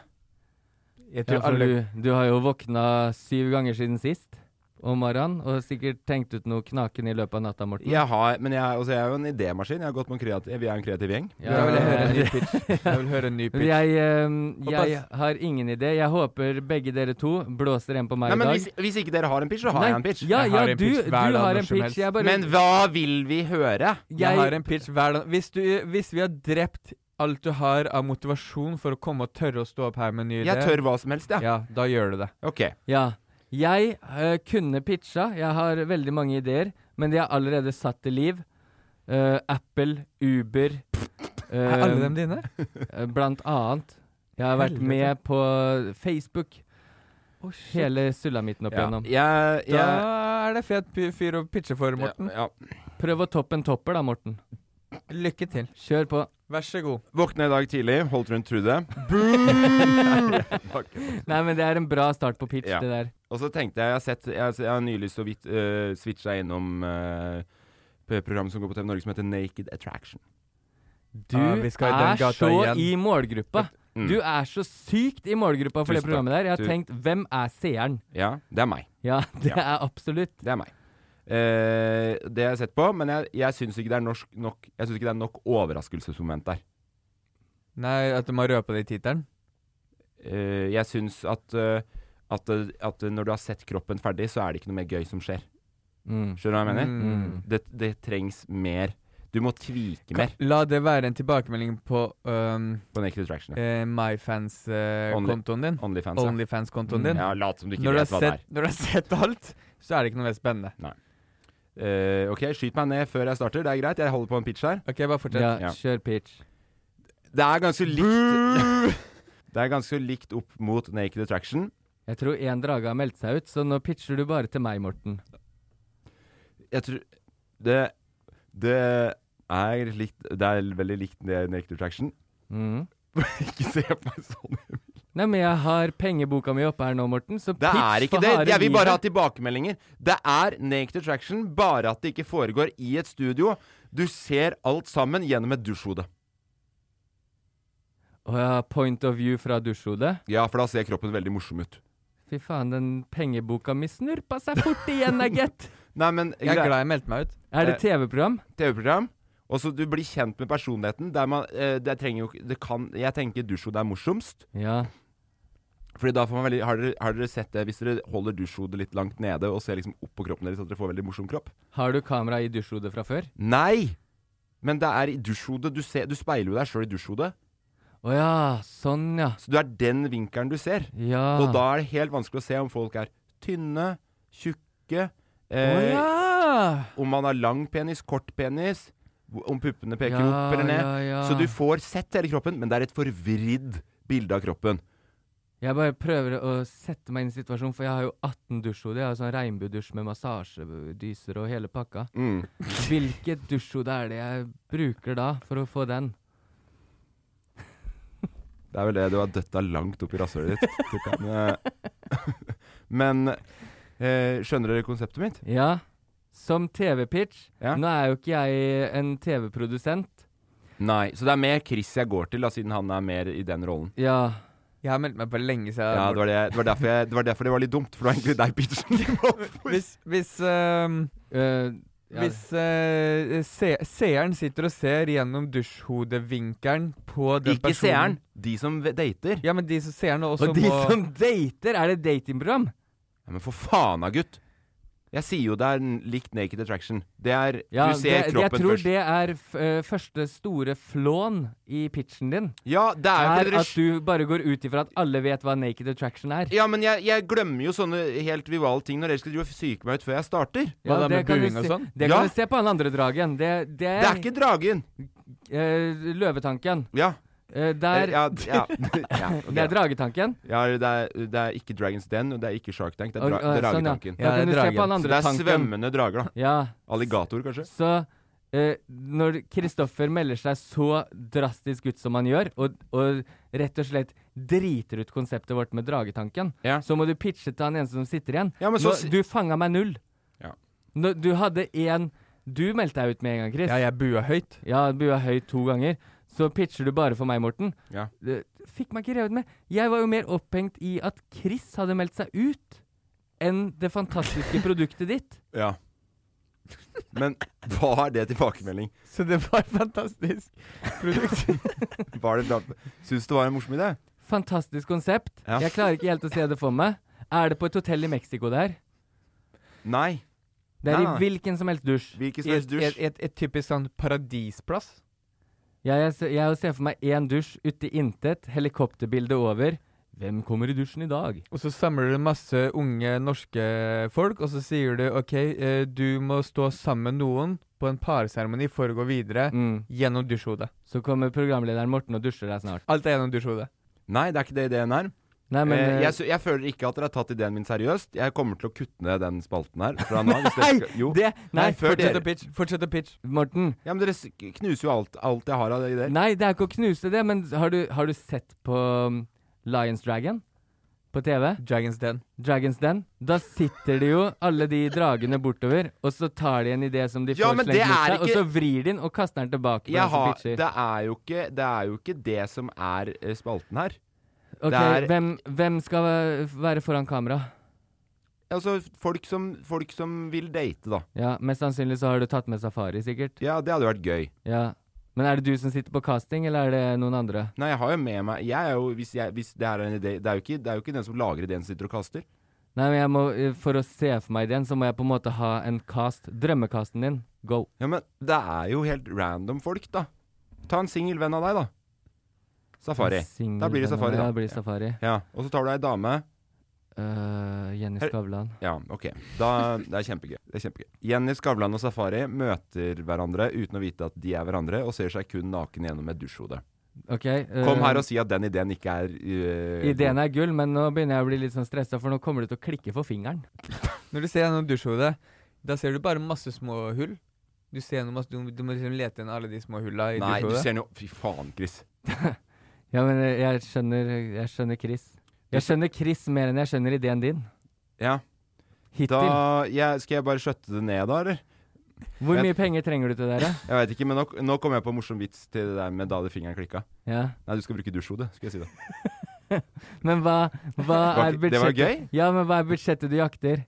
S3: Jeg
S1: Ja,
S3: tror
S1: for
S3: alle
S1: du, du har jo våkna syv ganger siden sist om morgenen, og sikkert tenkt ut noe knaken i løpet av natta, Morten.
S2: Jeg har, men jeg, altså, jeg er jo en idémaskin. Jeg har gått med en kreativ, vi er en kreativ gjeng.
S1: Ja,
S3: jeg vil høre en ny
S1: jeg-
S3: pitch. Jeg vil høre en ny pitch.
S1: Jeg, ehm,
S3: Hoppas.
S1: jeg har ingen idé. Jeg håper begge dere to blåser en på meg
S2: Nei,
S1: i
S2: men
S1: dag.
S2: hvis, hvis ikke dere har en pitch, så har
S1: Nei,
S2: jeg en pitch.
S1: Ja,
S3: Jeg
S1: ja,
S3: har en
S1: du,
S3: pitch hver
S1: du
S3: dag
S1: har
S3: når
S1: en
S3: som helst.
S1: pitch. Jeg bare
S2: Men hva vil vi høre?
S3: Jeg, har en pitch hver dag. Hvis, du, hvis vi har drept alt du har av motivasjon for å komme og tørre å stå opp her med en ny idé,
S2: Jeg tør hva som helst, jeg.
S3: Ja, da gjør du det.
S2: Ok.
S1: Ja. Jeg eh, kunne pitcha. Jeg har veldig mange ideer, men de er allerede satt til liv. Eh, Apple, Uber eh,
S3: Er alle dem dine?
S1: eh, Blant annet. Jeg har vært
S3: Helvete.
S1: med på Facebook. Hele sulamitten opp
S2: Ja.
S1: igjennom.
S2: Jeg, jeg,
S3: Da er det fet py- fyr å pitche for, Morten.
S2: Ja, ja.
S1: Prøv å toppe en topper, da, Morten.
S3: Lykke til.
S1: Kjør på.
S3: Vær så god.
S2: Våkna i dag tidlig, holdt rundt Trude.
S1: Nei, men det er en bra start på pitch,
S2: Ja.
S1: det der.
S2: Og så tenkte jeg Jeg har, sett, jeg, jeg har nylig så vidt uh, switcha innom eh, p- programmet som går på TV Norge som heter Naked Attraction.
S1: Du
S3: Ja, vi skal i den
S1: er
S3: gata
S1: så
S3: igjen.
S1: i målgruppa.
S2: Mm.
S1: Du er så sykt i målgruppa for det
S2: Tusen takk.
S1: programmet der. Jeg har
S2: Du-
S1: tenkt, hvem er seeren?
S2: Ja, det er meg.
S1: Ja, det
S2: Ja.
S1: er absolutt.
S2: Det er meg. Eh, det har jeg sett på, men jeg, jeg syns ikke det er norsk nok Jeg synes ikke det er nok overraskelsesmoment der.
S3: Nei, at du må røpe det i tittelen?
S2: Eh, jeg syns at, eh, at, eh, at når du har sett kroppen ferdig, så er det ikke noe mer gøy som skjer.
S1: Mm.
S2: Skjønner du hva jeg mener?
S3: Mm.
S2: Det, det trengs mer. Du må tvike mer
S3: La det være en tilbakemelding på øhm,
S2: på Naked Attraction. ja.
S3: eh, MyFans-kontoen din.
S2: Onlyfans. ja. Mm,
S3: Onlyfans-kontoen din.
S2: Ja, lat som du ikke
S3: Når du, har
S2: vet hva det er.
S3: sett, når du har sett alt, så er det ikke noe mer spennende.
S2: Eh, ok, skyt meg ned før jeg starter. Det er greit, jeg holder på en pitch her.
S3: Ok, bare fortsett.
S1: Ja,
S2: Ja.
S1: kjør pitch.
S2: Det er ganske likt Det er ganske likt opp mot Naked Attraction.
S1: Jeg tror én drage har meldt seg ut, så nå pitcher du bare til meg, Morten.
S2: Jeg tror Det Det er likt Det er veldig likt det Naked Attraction.
S1: Mm.
S2: ikke se på meg sånn.
S1: Nei, men jeg har pengeboka mi oppe her nå, Morten, så
S2: Det
S1: pitch
S2: er ikke
S1: for
S2: det.
S1: harde
S2: Jeg vil bare ha
S1: livet.
S2: tilbakemeldinger. Det er Naked Attraction, bare at det ikke foregår i et studio. Du ser alt sammen gjennom et dusjhode.
S1: Å ja, point of view fra dusjhodet.
S2: Ja, for da ser kroppen veldig morsom ut.
S1: Fy faen, den pengeboka mi snurpa seg fort igjen, da, gitt.
S2: Nei, men
S3: Jeg er
S2: grei-
S3: glad jeg meldte meg ut.
S1: Er
S2: Eh.
S1: det TV-program?
S2: TV-program. Og så du blir kjent med personligheten. Der man, eh, det trenger jo ikke- det kan, Jeg tenker dusjhodet er morsomst.
S1: Ja.
S2: Fordi da får man veldig Har dere, har dere sett det hvis dere holder dusjhodet litt langt nede og ser liksom opp på kroppen deres at dere får veldig morsom kropp?
S1: Har du kamera i dusjhodet fra før?
S2: Nei! Men det er i dusjhodet. Du, ser, du speiler jo deg sjøl i dusjhodet.
S1: Å ja, sånn, ja.
S2: Så du er den vinkelen du ser.
S1: Ja.
S2: Og da er det helt vanskelig å se om folk er tynne, tjukke eh,
S3: Å ja!
S2: Om man har lang penis, kort penis, om puppene peker
S1: Ja,
S2: opp eller ned.
S1: ja, ja.
S2: Så du får sett hele kroppen, men det er et forvridd bilde av kroppen.
S1: Jeg bare prøver å sette meg inn i situasjonen, for jeg har jo 18 dusjhoder. Jeg har sånn regnbuedusj med massasjedyser og hele pakka.
S2: Mm.
S1: Hvilket dusjhode er det jeg bruker da, for å få den?
S2: Det er vel det du har døtta langt opp i rasshølet ditt. tipper jeg. Men, eh, Men eh, skjønner dere konseptet mitt?
S1: Ja, som TV-pitch.
S2: Ja.
S1: Nå er jo ikke jeg en TV-produsent.
S2: Nei. Så det er mer Chris jeg går til, da, siden han er mer i den rollen.
S1: Ja.
S3: Jeg har meldt meg for lenge siden.
S2: Ja, det var, det, det, var derfor jeg, det var derfor det var litt dumt, for det var egentlig deg pitchen gikk på.
S3: Hvis, hvis, øhm,
S1: øh, ja.
S3: hvis øh, se, seeren sitter og ser gjennom dusjhodevinkelen på den
S2: Ikke
S3: personen
S2: seeren, de som v- dater.
S3: Ja, men de som seeren også
S1: Og de
S3: må
S1: som dater! Er det datingprogram?
S2: Ja, men for faen da, gutt! Jeg sier jo det er n- likt Naked Attraction. Det er
S1: Ja,
S2: Du ser
S1: det, jeg
S2: kroppen
S1: tror
S2: først.
S1: det er f øh, første store flån i pitchen din.
S2: ja, det er jo
S1: Er
S2: fordi dere
S1: at du bare går ut ifra at alle vet hva naked attraction er.
S2: Ja, men jeg, jeg glemmer jo sånne helt vivale ting når dere skal drive og psyke meg ut før jeg starter.
S3: Hva da med
S1: kan du
S3: buing og
S1: se-
S3: sånn?
S1: Det
S2: Ja.
S1: kan du se på han andre dragen. Det, det,
S2: Det er ikke dragen!
S1: eh, løvetanken.
S2: Ja.
S1: Eh,
S2: eh,
S1: der
S2: ja, ja, ja, ok,
S1: Det er dragetanken.
S2: ja det, er, det er ikke Dragons Den, og det er ikke Shark Tank. Det er,
S1: Og-
S2: dra
S1: og-
S2: det er
S1: sånn,
S2: dragetanken.
S1: ja. Da
S3: Ja,
S1: kan
S3: det
S1: du
S3: er
S1: se på den
S3: dragen.
S2: Så
S1: andre
S2: det er
S1: tanken.
S2: svømmende drager, da.
S1: Ja.
S2: Alligator, kanskje?
S1: Så eh, når Kristoffer melder seg så drastisk ut som han gjør, og, og rett og slett driter ut konseptet vårt med dragetanken,
S2: Ja.
S1: så må du pitche til han eneste som sitter igjen.
S2: Ja, men så
S1: Nå,
S2: si-
S1: du fanga meg null.
S2: Ja.
S1: Nå, du hadde én Du meldte deg ut med en gang, Chris.
S3: Ja, jeg bua høyt.
S1: Ja, bua høyt to ganger. Så pitcher du bare for meg, Morten.
S2: Ja.
S1: Det Fikk meg ikke revet med. Jeg var jo mer opphengt i at Chris hadde meldt seg ut, enn det fantastiske produktet ditt.
S2: Ja. Men var det tilbakemelding?
S3: Så det var fantastisk.
S2: Var det bra? Syns det var en morsom idé?
S1: Fantastisk konsept.
S2: Ja.
S1: Jeg klarer ikke helt å se det for meg. Er det på et hotell i Mexico det her?
S2: Nei.
S1: Det er
S2: Nei, nei.
S1: i hvilken som helst dusj.
S2: Hvilken som helst
S3: Et, et,
S2: dusj.
S3: et, et typisk sånn paradisplass.
S1: Ja, jeg, ser, jeg ser for meg én dusj ute i intet, helikopterbilde over. Hvem kommer i dusjen i dag?
S3: Og så samler du masse unge norske folk, og så sier du OK, eh, du må stå sammen med noen på en parseremoni for å gå videre
S1: Mm.
S3: gjennom dusjhodet.
S1: Så kommer programlederen Morten og dusjer deg snart.
S3: Alt er gjennom dusjhodet.
S2: Nei, det er ikke det ideen her.
S1: Nei, men
S2: eh,
S1: eh,
S2: jeg, sy- jeg føler ikke at dere har tatt ideen min seriøst. Jeg kommer til å kutte ned den spalten her. Fra nå, av, hvis dere skal- jo.
S1: eh, det, nei,
S2: Nei, før
S3: Fortsett
S2: dere
S3: å pitch. Fortsett å pitch.
S1: Morten.
S2: Ja, men dere s- knuser jo alt, alt jeg har av ideer.
S1: Nei, det er ikke å knuse det, men har du, har du sett på um, Lions Dragon på TV?
S3: Dragons Den.
S1: Dragons Den? Da sitter de jo, alle de dragene, bortover, og så tar de en idé som de
S2: Ja,
S1: får
S2: men
S1: slengt
S2: det
S1: mot
S2: er
S1: seg, og
S2: ikke-
S1: så vrir de den og kaster den tilbake. på
S2: Jeg
S1: den som
S2: har,
S1: pitcher.
S2: det, er jo ikke, det er jo ikke det som er eh, spalten her.
S1: Ok,
S2: det er-
S1: hvem, hvem skal eh, være foran kamera?
S2: Altså, folk som, folk som vil date, da.
S1: Ja, Mest sannsynlig så har du tatt med safari, sikkert.
S2: Ja, det hadde vært gøy.
S1: Ja. Men er det du som sitter på casting, eller er det noen andre?
S2: Nei, jeg har jo med meg Jeg er jo, hvis, jeg, hvis det her er en idé det er, jo ikke, det er jo ikke den som lager ideen, som sitter og kaster.
S1: Nei, men jeg må, eh, For å se for meg ideen, så må jeg på en måte ha en cast. Drømmekasten din, go.
S2: Ja, men det er jo helt random folk, da. Ta en singel venn av deg, da. Safari.
S1: Singel
S2: Da blir det
S1: venn av
S2: safari,
S1: meg.
S2: da.
S1: Ja, det blir safari.
S2: Ja, Og så tar du ei dame.
S1: Øh, Jenny
S2: Er-
S1: Skavlan.
S2: Ja, OK. Da, det er kjempegøy. Det er kjempegøy. Jenny Skavlan og Safari møter hverandre uten å vite at de er hverandre, og ser seg kun naken gjennom et dusjhode.
S1: Ok. øh,
S2: Kom her og si at den ideen ikke er øh,
S1: Ideen er gull, men nå begynner jeg å bli litt sånn stressa, for nå kommer du til å klikke for fingeren.
S3: Når du ser gjennom dusjhodet, da ser du bare masse små hull. Du, ser gjennom masse, du, du må liksom lete gjennom alle de små hulla i
S2: Nei, du
S3: dusjhodet.
S2: ser den jo Fy faen, Chris.
S1: Ja, men øh, jeg skjønner, jeg skjønner Chris. Jeg skjønner Chris mer enn jeg skjønner ideen din.
S2: Ja.
S1: Hittil.
S2: Da jeg, Skal jeg bare skjøtte det ned, da, eller?
S1: Hvor
S2: jeg-
S1: mye penger trenger du til dere?
S2: Jeg veit ikke, men nå, nå kom jeg på en morsom vits til det der med da det fingeren klikka.
S1: Ja.
S2: Nei, du skal bruke dusjhode, skulle jeg si det.
S1: Men hva, hva
S2: var
S1: er
S2: ikke-
S1: budsjettet
S2: det var gøy?
S1: Ja, men hva er budsjettet du jakter?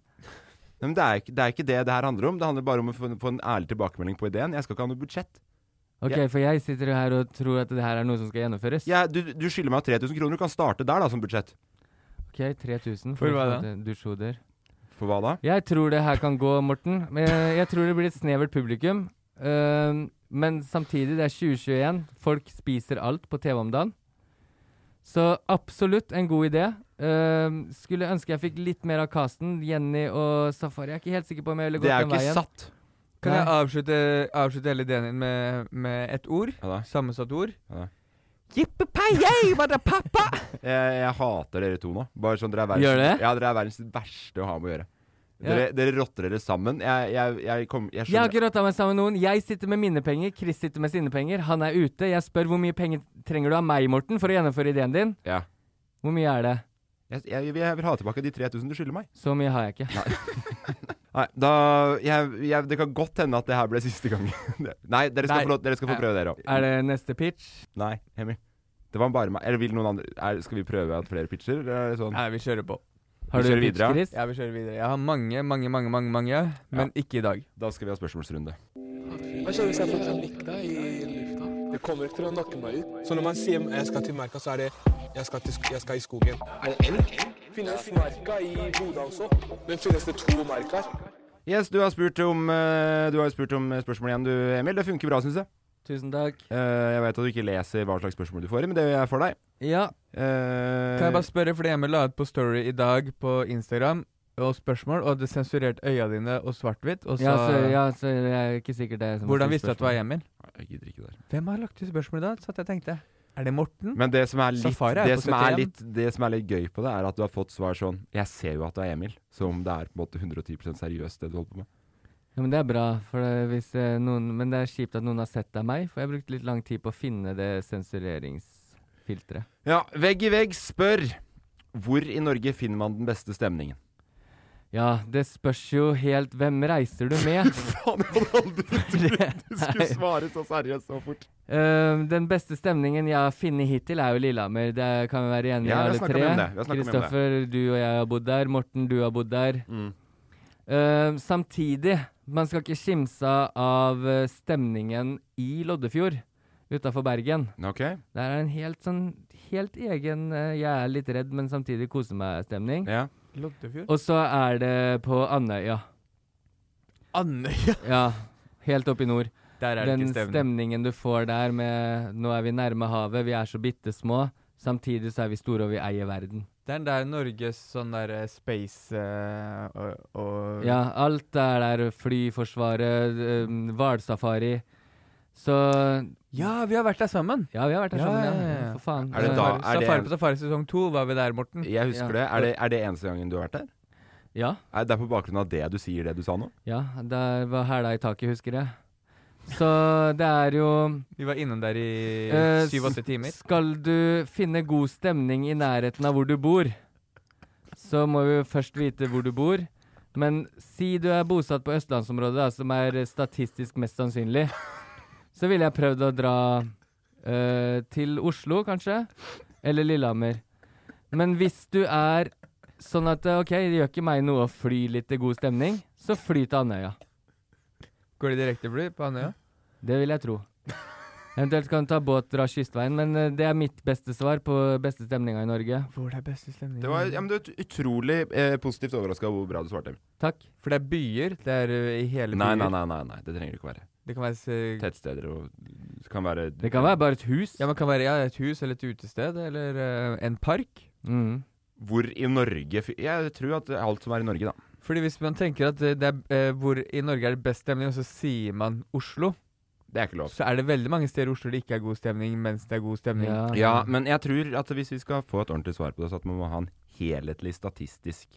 S2: Nei, men det er, ikke- det er ikke det det her handler om. Det handler bare om å få, få en ærlig tilbakemelding på ideen. Jeg skal ikke ha noe budsjett.
S1: Ok,
S2: Ja.
S1: for jeg sitter jo her og tror at det her er noe som skal gjennomføres.
S2: Jeg, du, du skylder meg 3000 kroner. Du kan starte der, da, som budsjett.
S1: Ok, 3000
S3: For hva
S1: å få dusjhoder.
S2: For hva da?
S1: Jeg tror det her kan gå, Morten. Men Jeg jeg tror det blir et snevert publikum. Ehm, men samtidig, det er 2021. Folk spiser alt på TV om dagen. Så absolutt en god idé. Ehm, skulle ønske jeg fikk litt mer av casten. Jenny og Safari. Jeg er ikke helt sikker på om jeg ville gått
S2: Det er
S1: den
S2: jo ikke
S1: veien.
S2: satt.
S3: Kan jeg
S1: Nei.
S3: avslutte, avslutte hele ideen din med, med et ord?
S2: Ja, da.
S3: Sammensatt ord?
S2: Ja.
S3: Jippepeiei, var det pappa?
S2: Jeg, jeg hater dere to nå. Bare sånn dere er verdens,
S1: Gjør det?
S2: Ja, dere er verdens verste å ha med å gjøre. Dere, dere rotter dere sammen. Jeg, jeg, jeg, kom, jeg
S1: Jeg har
S2: skjønner
S1: ikke rotta meg sammen med noen. Jeg sitter med mine penger. Chris sitter med sine penger. Han er ute. Jeg spør hvor mye penger trenger du av meg, Morten, for å gjennomføre ideen din.
S2: Ja.
S1: Hvor mye er det?
S2: Jeg, jeg, jeg vil ha tilbake de 3000 du skylder meg.
S1: Så mye har jeg ikke.
S2: Nei, da jeg, jeg, Det kan godt hende at det her ble siste gang. Nei, dere skal,
S1: Nei.
S2: Få, lov- dere skal få prøve dere òg.
S1: Er det neste pitch?
S2: Nei, Emil. Det var bare meg. Eller vil noen andre er, Skal vi prøve at flere pitcher? Eller er det sånn?
S3: Nei, vi kjører på.
S1: Har
S2: Vi
S1: du
S2: kjører
S1: pitch,
S2: videre, ja.
S1: Chris?
S3: Ja, vi kjører videre. Jeg har mange, mange, mange, mange, mange men ikke i dag.
S2: Da skal vi ha spørsmålsrunde.
S7: Hva skjer hvis jeg får klamydia i lufta? Det kommer ikke til å nakke meg ut. Så når man sier jeg skal til merka, så er det jeg skal, til, sk- jeg skal i skogen. Er det elg? Finnes merka i Bodø også? Men finnes det to merker?
S2: Yes, du har spurt om eh, Du har jo spurt om spørsmål igjen, du, Emil. Det funker bra, syns jeg.
S1: Tusen takk.
S2: Eh, jeg vet at du ikke leser hva slags spørsmål du får, men det gjør jeg for deg.
S1: Ja,
S2: Eh,
S3: Kan jeg bare spørre, fordi Emil la ut på Story i dag på Instagram og spørsmål, og hadde sensurert øya dine og svart-hvitt, og så
S1: ja, så, ja, så jeg er ikke sikkert det er som
S3: Hvordan
S1: er
S3: visste du at det var
S1: spørsmålet.
S3: Emil?
S2: Jeg gidder ikke det her.
S3: Hvem har lagt ut spørsmål i dag? Satt jeg og tenkte. Er det Morten?
S2: Men det som, er litt,
S3: Safari er
S2: det,
S3: på
S2: som er
S3: 71.
S2: litt, det som er litt gøy på det, er at du har fått svar sånn Jeg ser jo at det er Emil, som det er på en måte 110 seriøst det du holder på med.
S1: Ja, men det er bra, for det, hvis eh, noen, men det er kjipt at noen har sett det av meg, for jeg har brukt litt lang tid på å finne det sensureringsfilteret.
S2: Ja, Vegg i vegg spør hvor i Norge finner man den beste stemningen?
S1: Ja, det spørs jo helt hvem reiser du med?
S2: Faen, jeg hadde aldri trodd du skulle svare så seriøst så fort.
S1: Eh, den beste stemningen jeg har funnet hittil, er jo Lillehammer. Det kan vi være enige
S2: Ja, vi har
S1: alle
S2: snakket
S1: tre.
S2: mye om det. Vi har snakket mye om det.
S1: Kristoffer, du og jeg har bodd der. Morten, du har bodd der.
S2: Mm.
S1: Eh, samtidig, man skal ikke skimse av eh, stemningen i Loddefjord utafor Bergen.
S2: Ok.
S1: Der er en helt sånn helt egen eh, Jeg er litt redd, men samtidig koser meg-stemning.
S2: Ja.
S3: Loddefjord?
S1: Og så er det på Andøya.
S3: Andøya!
S1: Ja, helt oppe i nord.
S3: Der er det
S1: Den
S3: ikke stemning.
S1: stemningen du får der med Nå er vi nærme havet, vi er så bitte små. Samtidig så er vi store, og vi eier verden.
S3: Det er den der Norges sånn der eh, space eh, og, og
S1: Ja, alt er der. Flyforsvaret, um, hvalsafari. Så
S3: Ja, vi har vært der sammen!
S1: Ja, vi har vært der
S3: Ja,
S1: sammen, ja.
S3: ja, ja.
S1: For faen.
S2: Er det da-
S3: Safari,
S2: er det-
S3: safari på safari sesong to var vi der, Morten.
S2: Jeg husker
S1: Ja.
S2: det. Er, det. er det eneste gangen du har vært der?
S1: Ja.
S2: Er det på bakgrunn av det du sier det du sa nå?
S1: ja der var hæla i taket, husker jeg. Så det er jo
S3: Vi var innom der i
S1: Eh,
S3: syv-åtte timer.
S1: Skal du finne god stemning i nærheten av hvor du bor, så må vi jo først vite hvor du bor. Men si du er bosatt på østlandsområdet, da, som er statistisk mest sannsynlig, så ville jeg prøvd å dra eh, til Oslo, kanskje, eller Lillehammer. Men hvis du er sånn at eh, OK, det gjør ikke meg noe å fly litt til god stemning, så fly til Andøya.
S3: Går det direktefly på Andøya?
S1: Det vil jeg tro. Eventuelt kan du ta båt dra kystveien, men eh, det er mitt beste svar på beste stemninga i Norge.
S3: Hvor det er beste stemning?
S2: Det var, ja, men du er utrolig eh, positivt overraska hvor bra du svarte.
S1: Takk.
S3: For det er byer. Det er ø, i hele
S2: Nei,
S3: byer.
S2: nei, nei, nei, nei, det trenger det ikke være.
S3: Det kan være s-
S2: Tettsteder og det kan være
S1: Det kan være bare et hus.
S3: Ja, man kan være ja, et hus eller et utested eller ø, en park.
S1: Mm.
S2: Hvor i Norge fi- Jeg tror at det er alt som er i Norge, da.
S3: Fordi hvis man tenker at ø, det er ø, hvor i Norge er det best stemning, og så sier man Oslo,
S2: Det er ikke lov.
S3: så er det veldig mange steder i Oslo det ikke er god stemning, mens det er god stemning.
S1: Ja.
S2: Ja, men jeg tror at hvis vi skal få et ordentlig svar på det, så at man må ha en helhetlig statistisk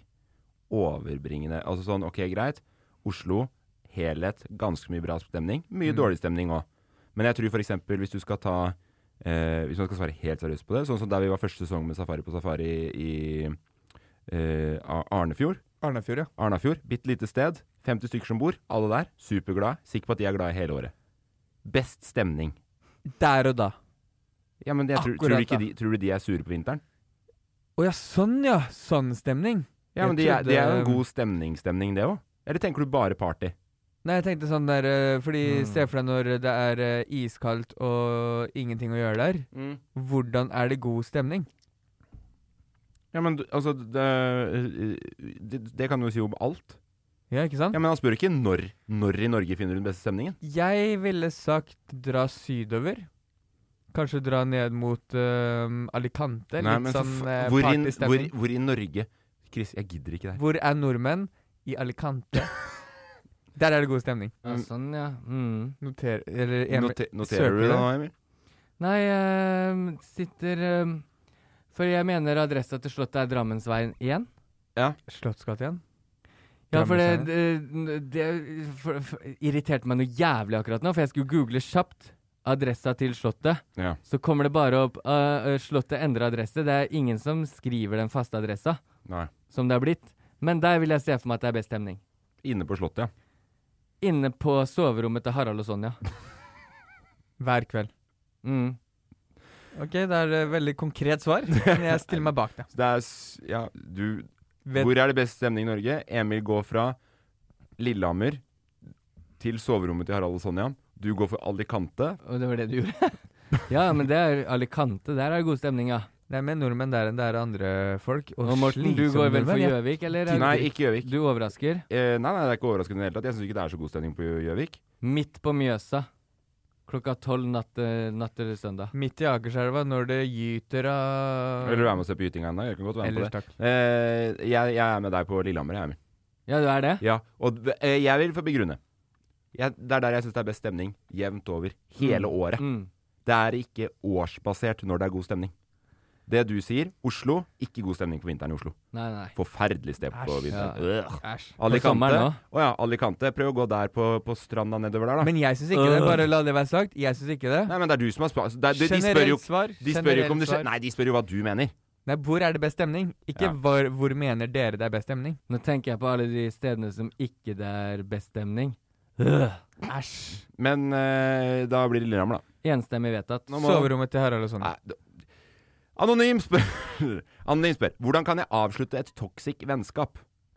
S2: overbringende Altså sånn, ok, greit. Oslo, helhet, ganske mye bra stemning.
S3: Mm.
S2: Mye dårlig stemning òg. Men jeg tror f.eks. hvis du skal ta eh, Hvis man skal svare helt seriøst på det, sånn som der vi var første sesong med Safari på Safari i eh, A- Arnefjord.
S3: Arnafjord, ja.
S2: Arnafjord, bitte lite sted. 50 stykker som bor. Alle der. Superglad. Sikker på at de er glad i hele året. Best stemning.
S3: Der og da.
S2: Ja, men jeg tror, tror,
S3: Akkurat
S2: du ikke
S3: da.
S2: de, tror du de er sure på vinteren?
S3: Å ja, sånn ja! Sånn stemning.
S2: Ja,
S3: Jeg
S2: men de er, de
S3: trodde-
S2: er jo en god stemningsstemning, det òg. Eller tenker du bare party?
S3: Nei, jeg tenkte sånn der ø, Fordi
S2: Mm.
S3: se for deg når det er ø, iskaldt og ingenting å gjøre der. Hvordan er det god stemning?
S2: Ja, men du- altså det, det, det kan du jo si om alt.
S3: Ja, ikke sant?
S2: Ja, Men han spør ikke når. Når i Norge finner du den beste stemningen?
S3: Jeg ville sagt dra sydover. Kanskje dra ned mot øhm, Alicante.
S2: Nei,
S3: litt
S2: men for
S3: sånn
S2: fa-
S3: eh,
S2: hvor, i, hvor,
S3: partystemning.
S2: hvor i Norge Chris, jeg gidder ikke det
S3: Hvor,
S2: her.
S3: er nordmenn? I Alicante. Der er det god stemning.
S1: ja sånn, ja. Mm.
S3: Noter, eller Emil,
S2: Note-
S3: søker
S2: Noterer du
S3: du
S2: det
S3: det?
S2: nå, Emil?
S1: Nei, eh, sitter eh, For jeg mener adressa til Slottet er Drammensveien 1.
S3: Slottsgata igjen.
S1: Ja, for det, det, det for, for, irriterte meg noe jævlig akkurat nå, for jeg skulle google kjapt adressa til Slottet.
S2: Ja.
S1: Så kommer det bare opp eh, eh, Slottet endrer adresse. Det er ingen som skriver den faste adressa,
S2: Nei.
S1: som det er blitt. Men der vil jeg se for meg at det er best stemning.
S2: Inne på Slottet, ja.
S1: Inne på soverommet til Harald og Sonja.
S3: Hver kveld.
S1: Mm.
S3: Ok, det er et veldig konkret svar, men jeg stiller meg bak det.
S2: Så det er s- Ja, du
S3: Vet-
S2: Hvor er det best stemning i Norge? Emil går fra Lillehammer til soverommet til Harald og Sonja. Du går for Alicante.
S1: Og det var det du gjorde? ja, men det er Alicante. Der er det god stemning, ja.
S3: Det er mer nordmenn der enn det er andre folk.
S1: Og Morten, du
S3: slitsomme
S1: går vel for
S3: nordmenn, ja.
S1: Gjøvik, eller? er
S2: Nei,
S1: du-
S2: ikke Gjøvik.
S1: Du overrasker.
S2: Eh, nei, nei, det er ikke overraskende i det hele tatt. Jeg syns ikke det er så god stemning på Gjø- Gjøvik.
S1: Midt på Mjøsa. Klokka tolv natt, eh, natt til søndag.
S3: Midt i Akerselva, når det gyter av
S2: Eller du er med og ser på gytinga ennå? Jeg kan godt være med
S3: Ellers
S2: på det.
S3: takk.
S2: Eh, jeg, jeg er med deg på Lillehammer, jeg, Emil.
S1: Ja, du er det?
S2: Ja, og d- eh, jeg vil få begrunne. Jeg, det er der jeg syns det er best stemning. Jevnt over. Hele året.
S1: Mm.
S2: Det er ikke årsbasert når det er god stemning. Det du sier, Oslo ikke god stemning på vinteren i Oslo.
S1: Nei, nei.
S2: Forferdelig sted på vinteren. Øh.
S1: Æsj. På
S2: Alicante.
S1: sommeren også.
S2: Å ja, Alicante. Prøv å gå der på, på stranda nedover der, da.
S3: Men jeg syns ikke
S2: Øh.
S3: det. Bare la det være sagt. Jeg syns ikke det.
S2: Nei, men det er du som har spurt. De, de, spør jo,
S3: Generelt svar.
S2: de spør jo ikke om det skjer
S3: generelt svar.
S2: Nei, de spør jo hva du mener.
S3: Nei, hvor er det best stemning? Ikke
S2: Ja.
S3: hvor, hvor mener dere det er best stemning?
S1: Nå tenker jeg på alle de stedene som ikke det er best stemning. Æsj.
S2: Men eh, da blir det Lillehammer, da.
S1: Enstemmig vedtatt.
S2: Nå må-
S3: Soverommet til Harald og sånn.
S2: Nei, d- Anonym spør Anonym spør Hvordan kan jeg avslutte et toxic vennskap?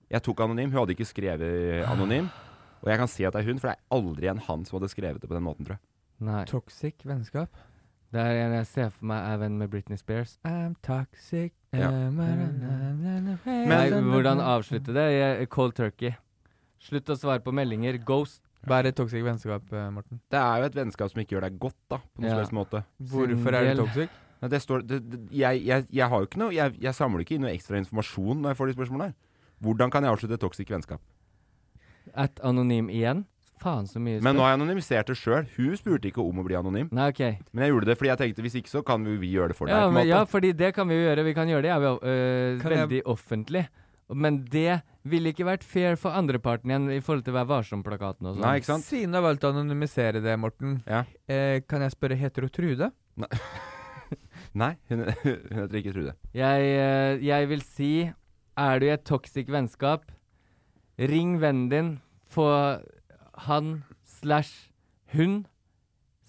S2: Jeg tok anonym, hun hadde ikke skrevet anonym Og jeg kan si at det er hun, for det er aldri en han som hadde skrevet det på den måten, tror jeg
S1: Nei.
S3: Toxic vennskap.
S1: Det er en jeg ser for meg er venn med Britney Spears.
S3: I'm toxic.
S2: Ja.
S1: Nei, hvordan avslutte det? Jeg, cold turkey. Slutt å svare på meldinger. Ghost.
S3: Hva er et toxic vennskap, eh, Morten?
S2: Det er jo et vennskap som ikke gjør deg godt da På noen
S1: Ja.
S2: som helst måte
S3: Hvorfor er
S1: del.
S3: det toxic?
S2: Nei, det står, det, det, jeg, jeg, jeg har jo ikke noe jeg, jeg samler ikke inn noe ekstra informasjon når jeg får de spørsmålene her Hvordan kan jeg avslutte et toxic vennskap?
S1: At anonym igjen. Faen, så mye spør-
S2: Men nå har jeg anonymisert det selv Hun spurte ikke om å bli anonym
S1: Nei, OK.
S2: Men jeg gjorde det fordi jeg tenkte Hvis ikke så kan vi, vi gjøre det for deg
S1: Ja,
S2: på en
S1: men,
S2: måte.
S1: ja, fordi det kan vi jo gjøre. Vi kan gjøre det ja, vi, øh,
S3: Kan jeg-
S1: veldig offentlig. Men det ville ikke vært fair for andreparten igjen i forhold til Vær varsom-plakaten og sånn.
S2: Nei, ikke sant?
S3: Siden du har valgt å anonymisere det, Morten,
S2: Ja.
S3: eh, kan jeg spørre heter du Trude?
S2: Nei, hun, hun heter ikke Trude
S1: Jeg, øh, jeg vil si Er du i et toxic vennskap, ring vennen din, få han slash hun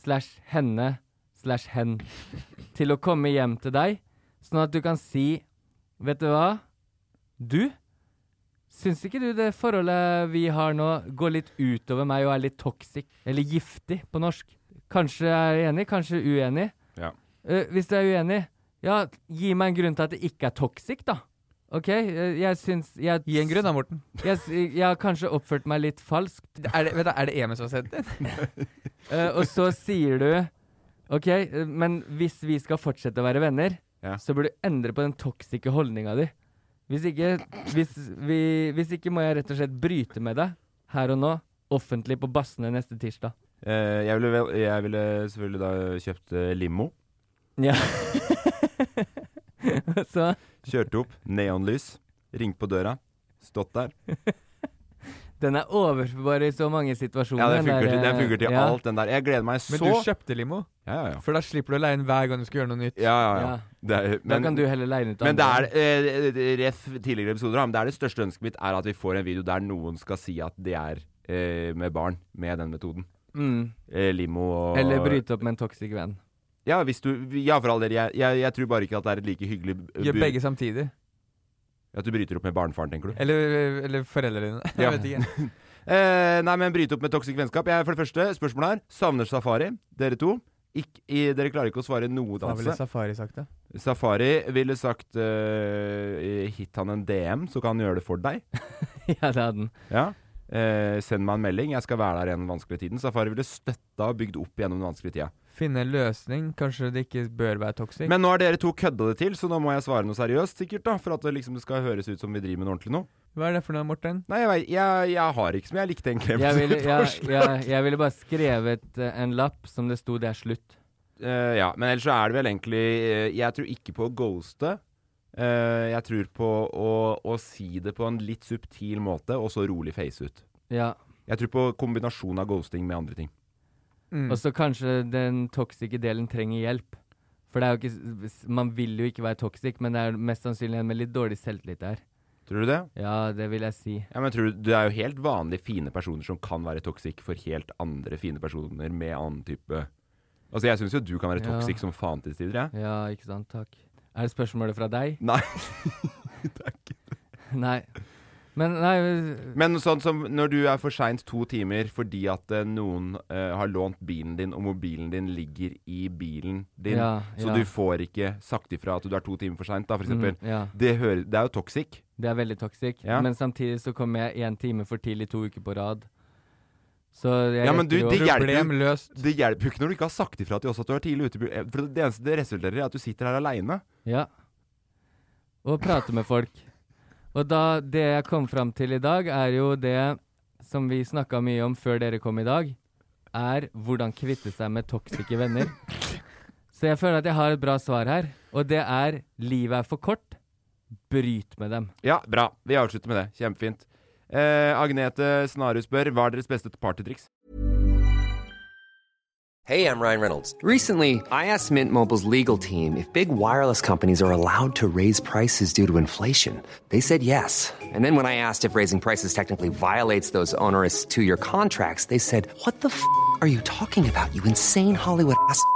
S1: slash henne slash hen til å komme hjem til deg, sånn at du kan si Vet du hva? Du? Syns ikke du det forholdet vi har nå, går litt utover meg og er litt toxic? Eller giftig, på norsk. Kanskje jeg er enig, kanskje uenig.
S2: Ja.
S1: Eh, hvis du er uenig, ja, gi meg en grunn til at det ikke er toxic, da. OK? Eh, jeg syns jeg,
S3: Gi en grunn da, Morten.
S1: Jeg, s- jeg har kanskje oppført meg litt falskt.
S3: Er det, vet du, er det Emil som har sendt den?
S1: Eh, og så sier du OK, eh, men hvis vi skal fortsette å være venner,
S2: Ja.
S1: så bør du endre på den toksiske holdninga di. Hvis ikke, hvis, vi, hvis ikke må jeg rett og slett bryte med deg her og nå, offentlig på Bassene neste tirsdag.
S2: Eh, jeg, ville vel, jeg ville selvfølgelig da kjøpt eh, limo.
S1: Ja. så
S2: Kjørt opp, neonlys, ringt på døra, stått der.
S1: den er overførbar i så mange situasjoner.
S2: Ja, Den
S1: den
S2: funker
S1: der,
S2: til, den
S1: eh,
S2: funker til
S1: ja.
S2: alt, den der. Jeg gleder meg så
S3: Men du kjøpte limo,
S2: Ja, ja, ja.
S3: for da slipper du å leie inn hver gang du skal gjøre noe nytt.
S2: ja, ja, ja.
S1: Ja.
S2: Det er,
S1: da kan du heller leie den ut. til
S2: men det
S1: andre.
S2: er eh, Ref tidligere episoder, da, men det er det største ønsket mitt er at vi får en video der noen skal si at de er eh, med barn med den metoden.
S1: mm.
S2: Eh, limo og
S1: Eller bryte opp med en toxic venn.
S2: Ja, hvis du Ja, for all del. Jeg, jeg, jeg tror bare ikke at det er et like hyggelig bu-
S3: Gjør begge samtidig.
S2: At du bryter opp med barnefaren, tenker du?
S3: Eller, eller foreldrene dine.
S2: Ja.
S3: Jeg vet ikke.
S2: Eh, nei, men bryte opp med toxic vennskap. Jeg, for det første, spørsmålet her. Savner safari, dere to. Ikk, i, dere klarer ikke å svare noe
S3: Hva ville
S2: danse.
S3: Safari sagt, da?
S2: Safari ville sagt eh, Hit han en DM, så kan han gjøre det for deg.
S1: ja, det hadde den.
S2: Ja. Eh, send meg en melding, jeg skal være der gjennom den vanskelige tiden. Safari ville støtta og bygd opp gjennom den vanskelige tida.
S3: Finne en løsning. Kanskje det ikke bør være toxic.
S2: Men nå har dere to kødda det til, så nå må jeg svare noe seriøst, sikkert, da. For at det liksom skal høres ut som vi driver med noe ordentlig nå.
S3: Hva er det for noe, Morten?
S2: Nei, jeg, vet- jeg, jeg har ikke som jeg likte, egentlig.
S1: Jeg ville, jeg, jeg, jeg ville bare skrevet eh, en lapp som det sto 'det er slutt'.
S2: Eh, ja, men ellers så er det vel egentlig eh, Jeg tror ikke på å ghoste. Eh, jeg tror på å, å si det på en litt subtil måte, og så rolig face ut.
S1: Ja.
S2: Jeg tror på kombinasjon av ghosting med andre ting.
S3: Mm.
S1: Og så kanskje den toxiske delen trenger hjelp. For det er jo ikke, s- s- man vil jo ikke være toxic, men det er mest sannsynlig en med litt dårlig selvtillit der.
S2: Tror du det?
S1: Ja, det vil jeg si.
S2: Ja, men tror du, Det er jo helt vanlige fine personer som kan være toxic for helt andre fine personer med annen type Altså, jeg syns jo du kan være
S1: Ja.
S2: toxic som faen til tider, jeg.
S1: Ja, ikke sant. Takk. Er det spørsmålet fra deg?
S2: Nei.
S1: Nei. Men nei øh,
S2: Men sånn som når du er for seint to timer fordi at eh, noen eh, har lånt bilen din, og mobilen din ligger i bilen din,
S1: Ja,
S2: så
S1: ja.
S2: du får ikke sagt ifra at du er to timer for seint, da, for eksempel.
S1: mm, Ja.
S2: Det, hører, det er jo toxic.
S1: Det er veldig toxic.
S2: Ja.
S1: Men samtidig så kom jeg én time for tidlig to uker på rad. Så jeg
S2: Ja, men du,
S1: rekker jo-
S2: det hjelper jo
S3: Problem løst.
S2: det hjelper jo ikke når du ikke har sagt ifra til oss at du er tidlig ute. eh, For det eneste det resulterer i, er at du sitter her aleine.
S1: Ja. Og prate med folk. Og da Det jeg kom fram til i dag, er jo det som vi snakka mye om før dere kom i dag, er hvordan kvitte seg med toksiske venner. Så jeg føler at jeg har et bra svar her, og det er livet er for kort. Bryt med dem.
S2: Ja, bra. Vi avslutter med det. Kjempefint. Eh, Agnete Snarud spør hva er deres beste partytriks?
S8: Hey, I'm Ryan Reynolds. Recently, I asked Mint Mobile's legal team if big wireless companies are allowed to raise prices due to inflation. They said yes. And then when I asked if raising prices technically violates those onerous two year contracts, they said, What the f are you talking about, you insane Hollywood ass? f- a-"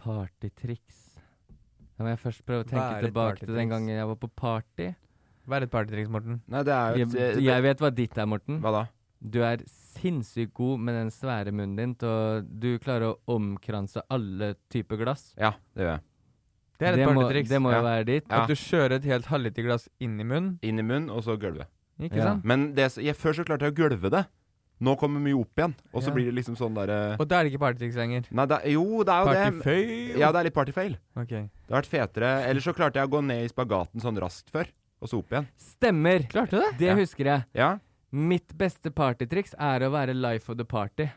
S1: Partytriks. Da må jeg først prøve å
S3: Hva er
S1: tenke
S3: et
S1: tilbake til den
S3: partytriks?
S1: gangen jeg var på party.
S3: Hva er et partytriks, Morten?
S2: Nei, det er jo et,
S1: Jeg,
S2: eh,
S1: jeg vet hva ditt er, Morten.
S2: Hva da?
S1: Du er sinnssykt god med den svære munnen din, og du klarer å omkranse alle typer glass.
S2: Ja, det gjør jeg.
S3: Det er et
S1: må,
S3: partytriks.
S1: det må
S2: Ja.
S1: jo være ditt.
S2: Ja.
S3: At du kjører et helt halvliter glass inn i munnen.
S2: Inn i munnen, og så gulvet.
S3: Ikke
S1: Ja.
S3: sant?
S2: Men det, jeg, før så klarte jeg å gulve det. Nå kommer mye opp igjen. Og så
S3: Ja.
S2: blir det liksom sånn derre
S3: Og da er det ikke partytriks lenger.
S2: Nei, det, er- jo, det er jo det.
S3: Partyfail!
S2: Ja, det er litt partyfail.
S3: Ok.
S2: Det har vært fetere. Eller så klarte jeg å gå ned i spagaten sånn raskt før, og så opp igjen.
S1: Stemmer!
S3: Klarte du det?
S1: Det
S2: Ja.
S1: husker jeg.
S2: Ja.
S1: Mitt beste partytriks er å være life of the party.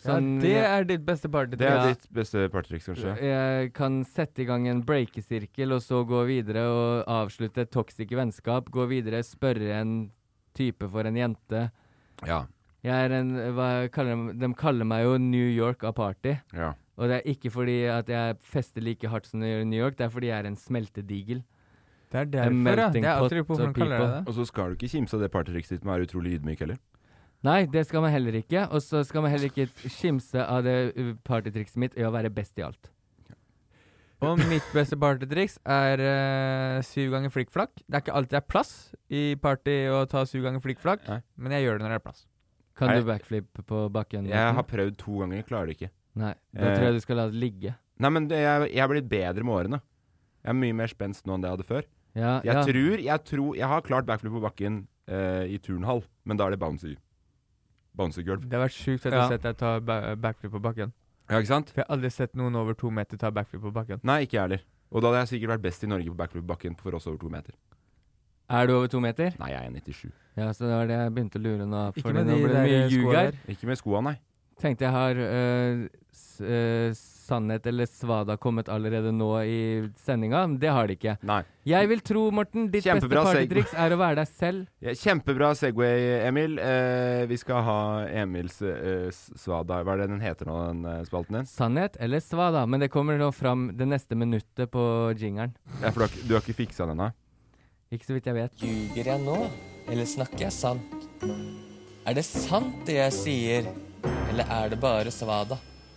S1: Sånn-
S3: ja, det er ditt beste
S2: Det
S3: partytriks.
S2: er
S1: Ja.
S2: ditt beste partytriks, kanskje.
S1: Jeg kan sette i gang en breakesirkel, og så gå videre og avslutte et toxic vennskap. Gå videre, spørre en type for en jente.
S2: Ja.
S1: Jeg er en, hva kaller de, de kaller meg jo New York av party.
S2: ja.
S1: Og det er ikke fordi at jeg fester like hardt som de gjør i New York, det er fordi jeg er en smeltedigel.
S3: Det er
S1: A
S3: derfor, ja.
S1: melting
S3: Det er
S1: pot
S3: alltid hvorfor
S1: of
S3: man kaller det
S1: people.
S3: det.
S2: Og så skal du ikke kimse av det partytrikset ditt med å være utrolig ydmyk heller.
S1: Nei, det skal man heller ikke. Og så skal man heller ikke skimse av det uh, partytrikset mitt i å være best i alt.
S3: Og mitt beste partytriks er eh, syv ganger flikkflakk. Det er ikke alltid det er plass i party å ta syv ganger flikkflakk,
S2: Nei.
S3: men jeg gjør det når det er plass.
S1: Kan
S2: Nei.
S1: du backflip på bakken?
S2: Jeg
S1: Morten?
S2: har prøvd to ganger, klarer det ikke.
S1: Nei, da
S2: Eh.
S1: tror jeg du skal la det ligge.
S2: Nei, men det, jeg, jeg er blitt bedre med årene. Jeg er mye mer spenst nå enn det jeg hadde før.
S1: Ja,
S2: Jeg
S1: ja.
S2: tror jeg, tror jeg har klart backflip på bakken eh, i turnhall, men da er det bouncy. Bouncy-gulv.
S3: Det har vært sjukt fett
S1: Ja.
S3: å se deg ta ba backflip på bakken.
S2: Ja, ikke sant?
S3: For jeg har aldri sett noen over to meter ta backflip på bakken.
S2: Nei, ikke jeg heller. Og da hadde jeg sikkert vært best i Norge på backflip på bakken for oss over to meter.
S1: Er du over to meter?
S2: Nei, jeg er 97.
S1: Ja, så det var det jeg begynte å lure nå.
S3: Ikke
S1: Fordi nå
S3: med de
S1: ble det
S3: der eh,
S1: mye ljug
S3: skoene
S1: her.
S2: Ikke med skoa, nei.
S1: Tenkte jeg har øh, s- øh, sannhet eller svada kommet allerede nå i sendinga, men det har de ikke.
S2: nei.
S1: Jeg vil tro, Morten, ditt
S2: Kjempebra
S1: beste
S2: seg-
S1: partytriks er å være deg selv.
S2: Ja, kjempebra Segway, Emil. Eh, vi skal ha Emils eh, s- svada... Hva er det den heter nå, den eh, spalten din?
S1: Sannhet eller svada, men det kommer nå fram det neste minuttet på jingeren.
S2: Ja, for du har, ikke- du har ikke fiksa den ennå?
S1: Ikke så vidt jeg vet.
S9: Ljuger jeg nå, eller snakker jeg sant? Er det sant det jeg sier, eller er det bare svada?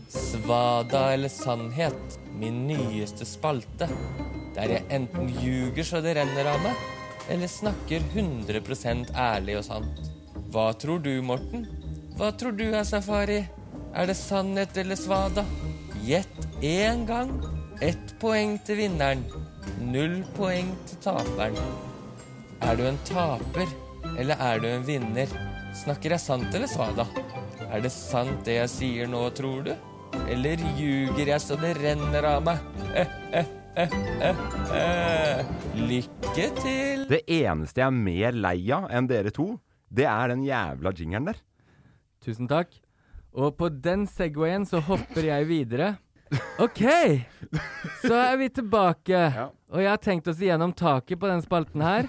S9: Svada eller sannhet, min nyeste spalte. Der jeg enten ljuger så det renner av meg, Eller snakker 100 ærlig og sant? Hva tror du, Morten? Hva tror du er safari? Er det sannhet eller svada? Gjett én gang. Ett poeng til vinneren. Null poeng til taperen. Er du en taper, eller er du en vinner? Snakker jeg sant eller svada? Er det sant det jeg sier nå, tror du? Eller ljuger jeg så det renner av meg? Eh, eh, eh, eh, eh. Lykke til!
S2: Det eneste jeg er mer lei av enn dere to, det er den jævla jingeren der.
S1: Tusen takk. Og på den Segwayen så hopper jeg videre. OK! Så er vi tilbake. Og jeg har tenkt oss igjennom taket på den spalten her.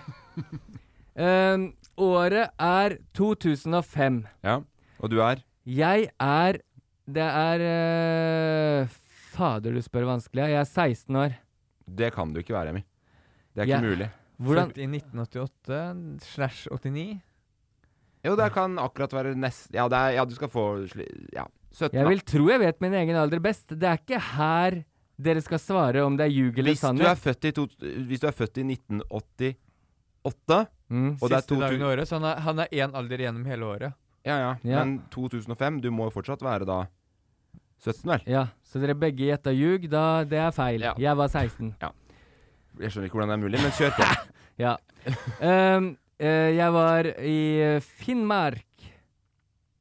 S1: Um, året er 2005.
S2: Ja. Og du er?
S1: Jeg er Det er eh, Fader, du spør vanskelig. Jeg er 16 år.
S2: Det kan du ikke være, Emil. Det er
S1: Ja.
S2: ikke mulig.
S1: Hvordan
S3: Født i 1988 slash 89.
S2: Jo, det kan akkurat være nest... Ja, det er, ja du skal få sli- Ja. 17,
S1: Jeg
S2: da.
S1: vil tro jeg vet min egen alder best. Det er ikke her dere skal svare om det er ljug eller
S2: Hvis du, er
S1: sannhet.
S2: født i to, hvis du er født i 1988
S1: Mm.
S2: og det er
S3: Siste
S2: to-
S3: dagen i året, så han er- han er én alder gjennom hele året.
S2: ja, ja,
S1: Ja.
S2: Men 2005, du må jo fortsatt være da 17, vel?
S1: Ja, så dere begge gjetta ljug. Da det er feil. Jeg var 16.
S2: Jeg skjønner ikke hvordan det er mulig, men kjør på.
S1: Ja. Ehm, eh, jeg var i Finnmark.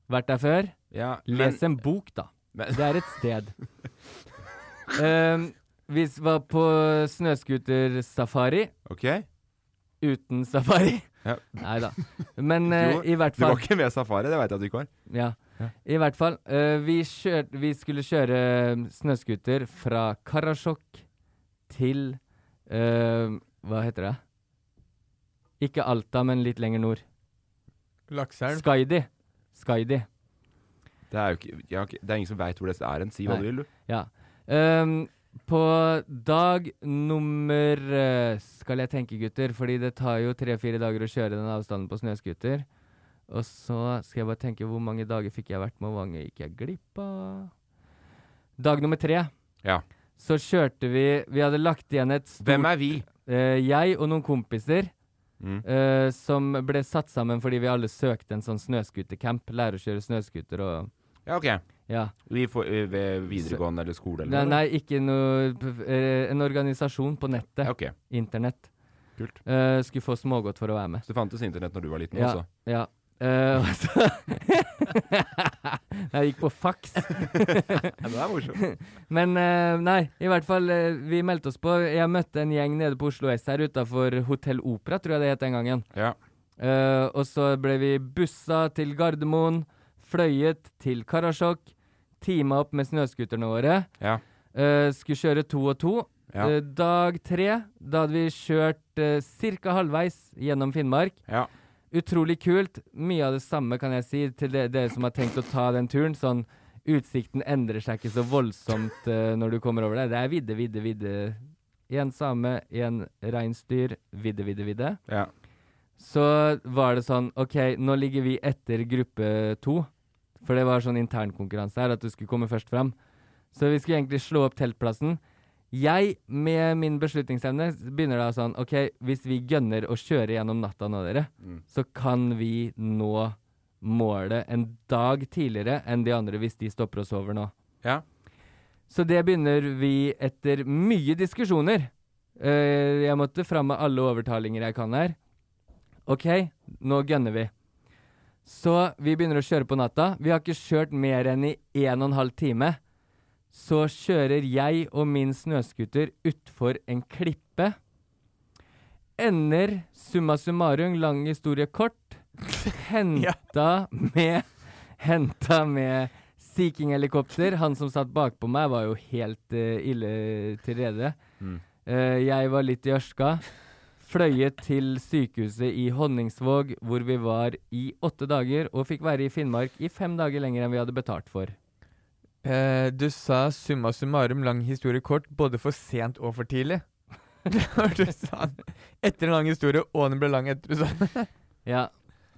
S1: Vært der før.
S2: Ja,
S1: Les
S2: men-
S1: en bok, da. Det er et sted. Ehm, vi s- var på snøscootersafari.
S2: Ok.
S1: Uten safari.
S2: Ja.
S1: Nei da. Men eh,
S2: Jo,
S1: i hvert
S2: Du
S1: fall
S2: var ikke med safari, det veit jeg at du ikke var.
S1: Ja. I hvert fall. eh, vi, kjør, vi skulle kjøre eh, snøscooter fra Karasjok til eh, Hva heter det? Ikke Alta, men litt lenger nord.
S3: Lakselv.
S1: Skaidi. Skaidi.
S2: Det er jo ikke, ja, ok, det er ingen som veit hvor det er hen. Si hva
S1: Nei.
S2: du vil, du.
S1: Ja. Ehm, på dag nummer eh, Skal jeg tenke, gutter, fordi det tar jo tre-fire dager å kjøre den avstanden på snøscooter. Og så skal jeg bare tenke hvor mange dager fikk jeg vært med, og hvor mange gikk jeg glipp av? Dag nummer tre.
S2: Ja.
S1: Så kjørte vi Vi hadde lagt igjen et stort
S2: Hvem er vi?
S1: Eh, jeg og noen kompiser
S2: Mm.
S1: eh, som ble satt sammen fordi vi alle søkte en sånn snøscootercamp. Lære å kjøre snøscooter og
S2: Ja, ok.
S1: Ja.
S2: Vi får, ø, ved videregående eller skole
S1: Nei,
S2: eller
S1: nei, ikke noe p- eh, En organisasjon på nettet. Internett.
S2: Kult.
S1: Eh, skulle få smågodt for å være med.
S2: Så det fantes internett når du var liten
S1: ja,
S2: også?
S1: Ja. Eh, og så Nei, jeg gikk på faks.
S2: det er morsomt.
S1: Men eh, nei, i hvert fall, eh, vi meldte oss på. Jeg møtte en gjeng nede på Oslo S her utafor Hotell Opera, tror jeg det het den gangen.
S2: Ja.
S1: Eh, og så ble vi bussa til Gardermoen, fløyet til Karasjok, tima opp med snøscooterne våre.
S2: Ja.
S1: Eh, skulle kjøre to og to.
S2: Ja.
S1: Eh, dag tre, da hadde vi kjørt uh, ca. halvveis gjennom Finnmark. Utrolig kult. Mye av det samme kan jeg si til de- dere som har tenkt å ta den turen. Sånn, Utsikten endrer seg ikke så voldsomt eh, når du kommer over der. Det er vidde, vidde, vidde. Én same, én reinsdyr. Vidde, vidde, vidde.
S2: Ja.
S1: Så var det sånn OK, nå ligger vi etter gruppe to. For det var sånn internkonkurranse her, at du skulle komme først fram. Så vi skulle egentlig slå opp teltplassen. Jeg, med min beslutningsevne, begynner da sånn OK, hvis vi gønner å kjøre gjennom natta nå, dere,
S2: Mm.
S1: så kan vi nå målet en dag tidligere enn de andre hvis de stopper og sover nå.
S2: Ja.
S1: Så det begynner vi etter mye diskusjoner. Eh, jeg måtte fram med alle overtalinger jeg kan her. OK, nå gønner vi. Så vi begynner å kjøre på natta. Vi har ikke kjørt mer enn i en og en halv time. Så kjører jeg og min snøskuter utfor en klippe. Ender summa summarum, lang historie kort, henta med Henta med Seeking-helikopter. Han som satt bakpå meg, var jo helt eh, ille til rede.
S2: Mm.
S1: Eh, jeg var litt i ørska. Fløyet til sykehuset i Honningsvåg, hvor vi var i åtte dager, og fikk være i Finnmark i fem dager lenger enn vi hadde betalt for.
S3: Eh, du sa summa summarum lang historie kort, både for sent og for tidlig. Det var det du sa. Etter en lang historie, og den ble lang etter du sa den.
S1: Ja,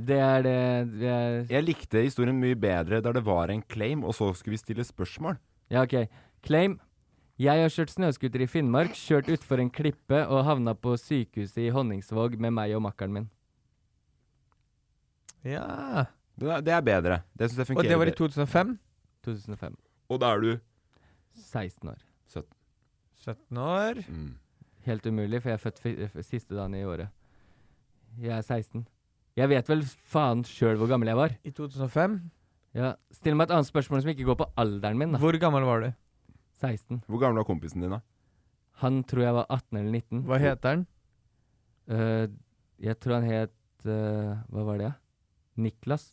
S1: det er det vi er
S2: Jeg likte historien mye bedre der det var en claim, og så skulle vi stille spørsmål.
S1: Ja, ok. Claim. Jeg har kjørt snøskuter i Finnmark, kjørt utfor en klippe og havna på sykehuset i Honningsvåg med meg og makkeren min.
S3: Ja.
S2: Det er, det er bedre. Det syns jeg
S3: Og
S2: fungerer.
S3: det var i
S2: bedre.
S3: 2005?
S1: 2005.
S2: Og da er du
S1: 16 år.
S2: 17.
S3: 17 år.
S1: Helt umulig, for jeg er født fi- f- siste dagen i året. Jeg er 16. Jeg vet vel faen sjøl hvor gammel jeg var.
S3: I 2005?
S1: Ja. Still meg et annet spørsmål som ikke går på alderen min, da.
S3: Hvor gammel var du?
S1: 16.
S2: Hvor gammel var kompisen din, da?
S1: Han tror jeg var 18 eller 19.
S3: Hva heter han?
S1: Eh, jeg tror han het eh, Hva var det, da? Niklas.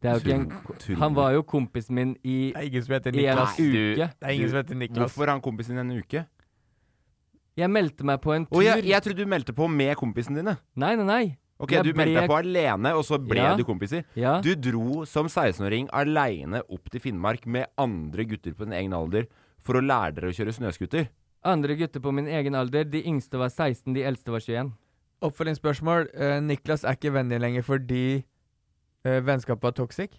S1: Det er jo ikke en
S2: Tull- tull.
S1: Han var jo kompisen min i
S3: Det er ingen som heter
S1: i en
S3: Niklas.
S1: uke.
S2: Du- du- Hvorfor
S1: Hvorfor?
S2: er han kompisen din en uke?
S1: Jeg meldte meg på en tur.
S2: Å, jeg, jeg trodde du meldte på med kompisen dine.
S1: Nei, nei, nei.
S2: Ok,
S1: Jeg
S2: Du meldte
S1: ble-
S2: deg på alene, og så ble
S1: Ja.
S2: du kompiser.
S1: Ja.
S2: Du dro som 16-åring aleine opp til Finnmark med andre gutter på din egen alder for å lære dere å kjøre snøskuter.
S1: Andre gutter på min egen alder, de yngste var 16, de eldste var 21.
S3: Oppfølgingsspørsmål. Eh, Niklas er ikke venn din lenger fordi eh, vennskapet var toxic?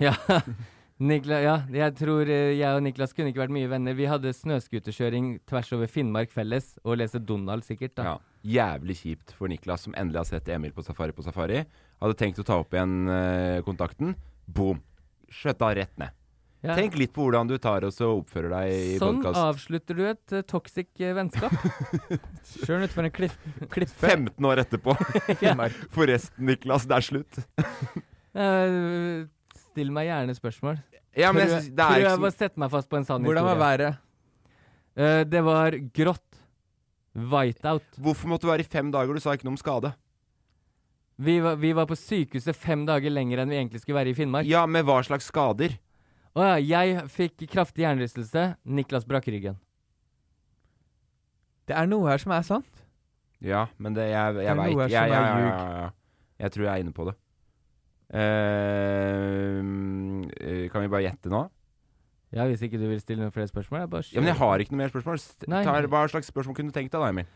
S1: Ja. Nikla, ja, jeg tror eh, jeg og Niklas kunne ikke vært mye venner. Vi hadde snøskuterkjøring tvers over Finnmark felles, og lese Donald sikkert, da.
S2: Ja. Jævlig kjipt for Niklas, som endelig har sett Emil på safari på safari. Hadde tenkt å ta opp igjen eh, kontakten. Boom! Skjøtta rett ned.
S1: Ja.
S2: Tenk litt på hvordan du tar og så oppfører deg i
S1: Sånn
S2: podkast.
S1: avslutter du et eh, toxic eh, vennskap. Sjøl utfor en kliff, klippe.
S2: 15 år etterpå.
S1: Finnmark.
S2: Forresten, Niklas, det er slutt.
S1: Eh, still meg gjerne spørsmål.
S2: Ja, men jeg
S1: Prøv-
S2: synes- det er ikke
S1: Prøv
S2: så-
S1: å sette meg fast på en sann
S3: Hvordan var været?
S1: Eh, det var grått. Whiteout.
S2: Hvorfor måtte du være i fem dager? Du sa ikke noe om skade.
S1: Vi var, vi var på sykehuset fem dager lenger enn vi egentlig skulle være i Finnmark.
S2: Ja, med hva slags skader?
S1: Å ja, jeg fikk kraftig hjernerystelse. Niklas brakk ryggen.
S3: Det er noe her som er sant.
S2: Ja, men det Jeg,
S3: Det er
S2: jeg veit
S3: noe her
S2: jeg,
S3: som
S2: jeg,
S3: er
S2: jeg,
S3: ljug.
S2: jeg, jeg tror jeg er inne på det. Eh, kan vi bare gjette nå?
S1: Ja, Hvis ikke du vil stille noen flere spørsmål jeg bare
S2: Ja, Men jeg
S1: kjører.
S2: har ikke noe mer spørsmål. S-
S1: Nei.
S2: Ta, hva slags spørsmål kunne du tenkt deg da, Emil?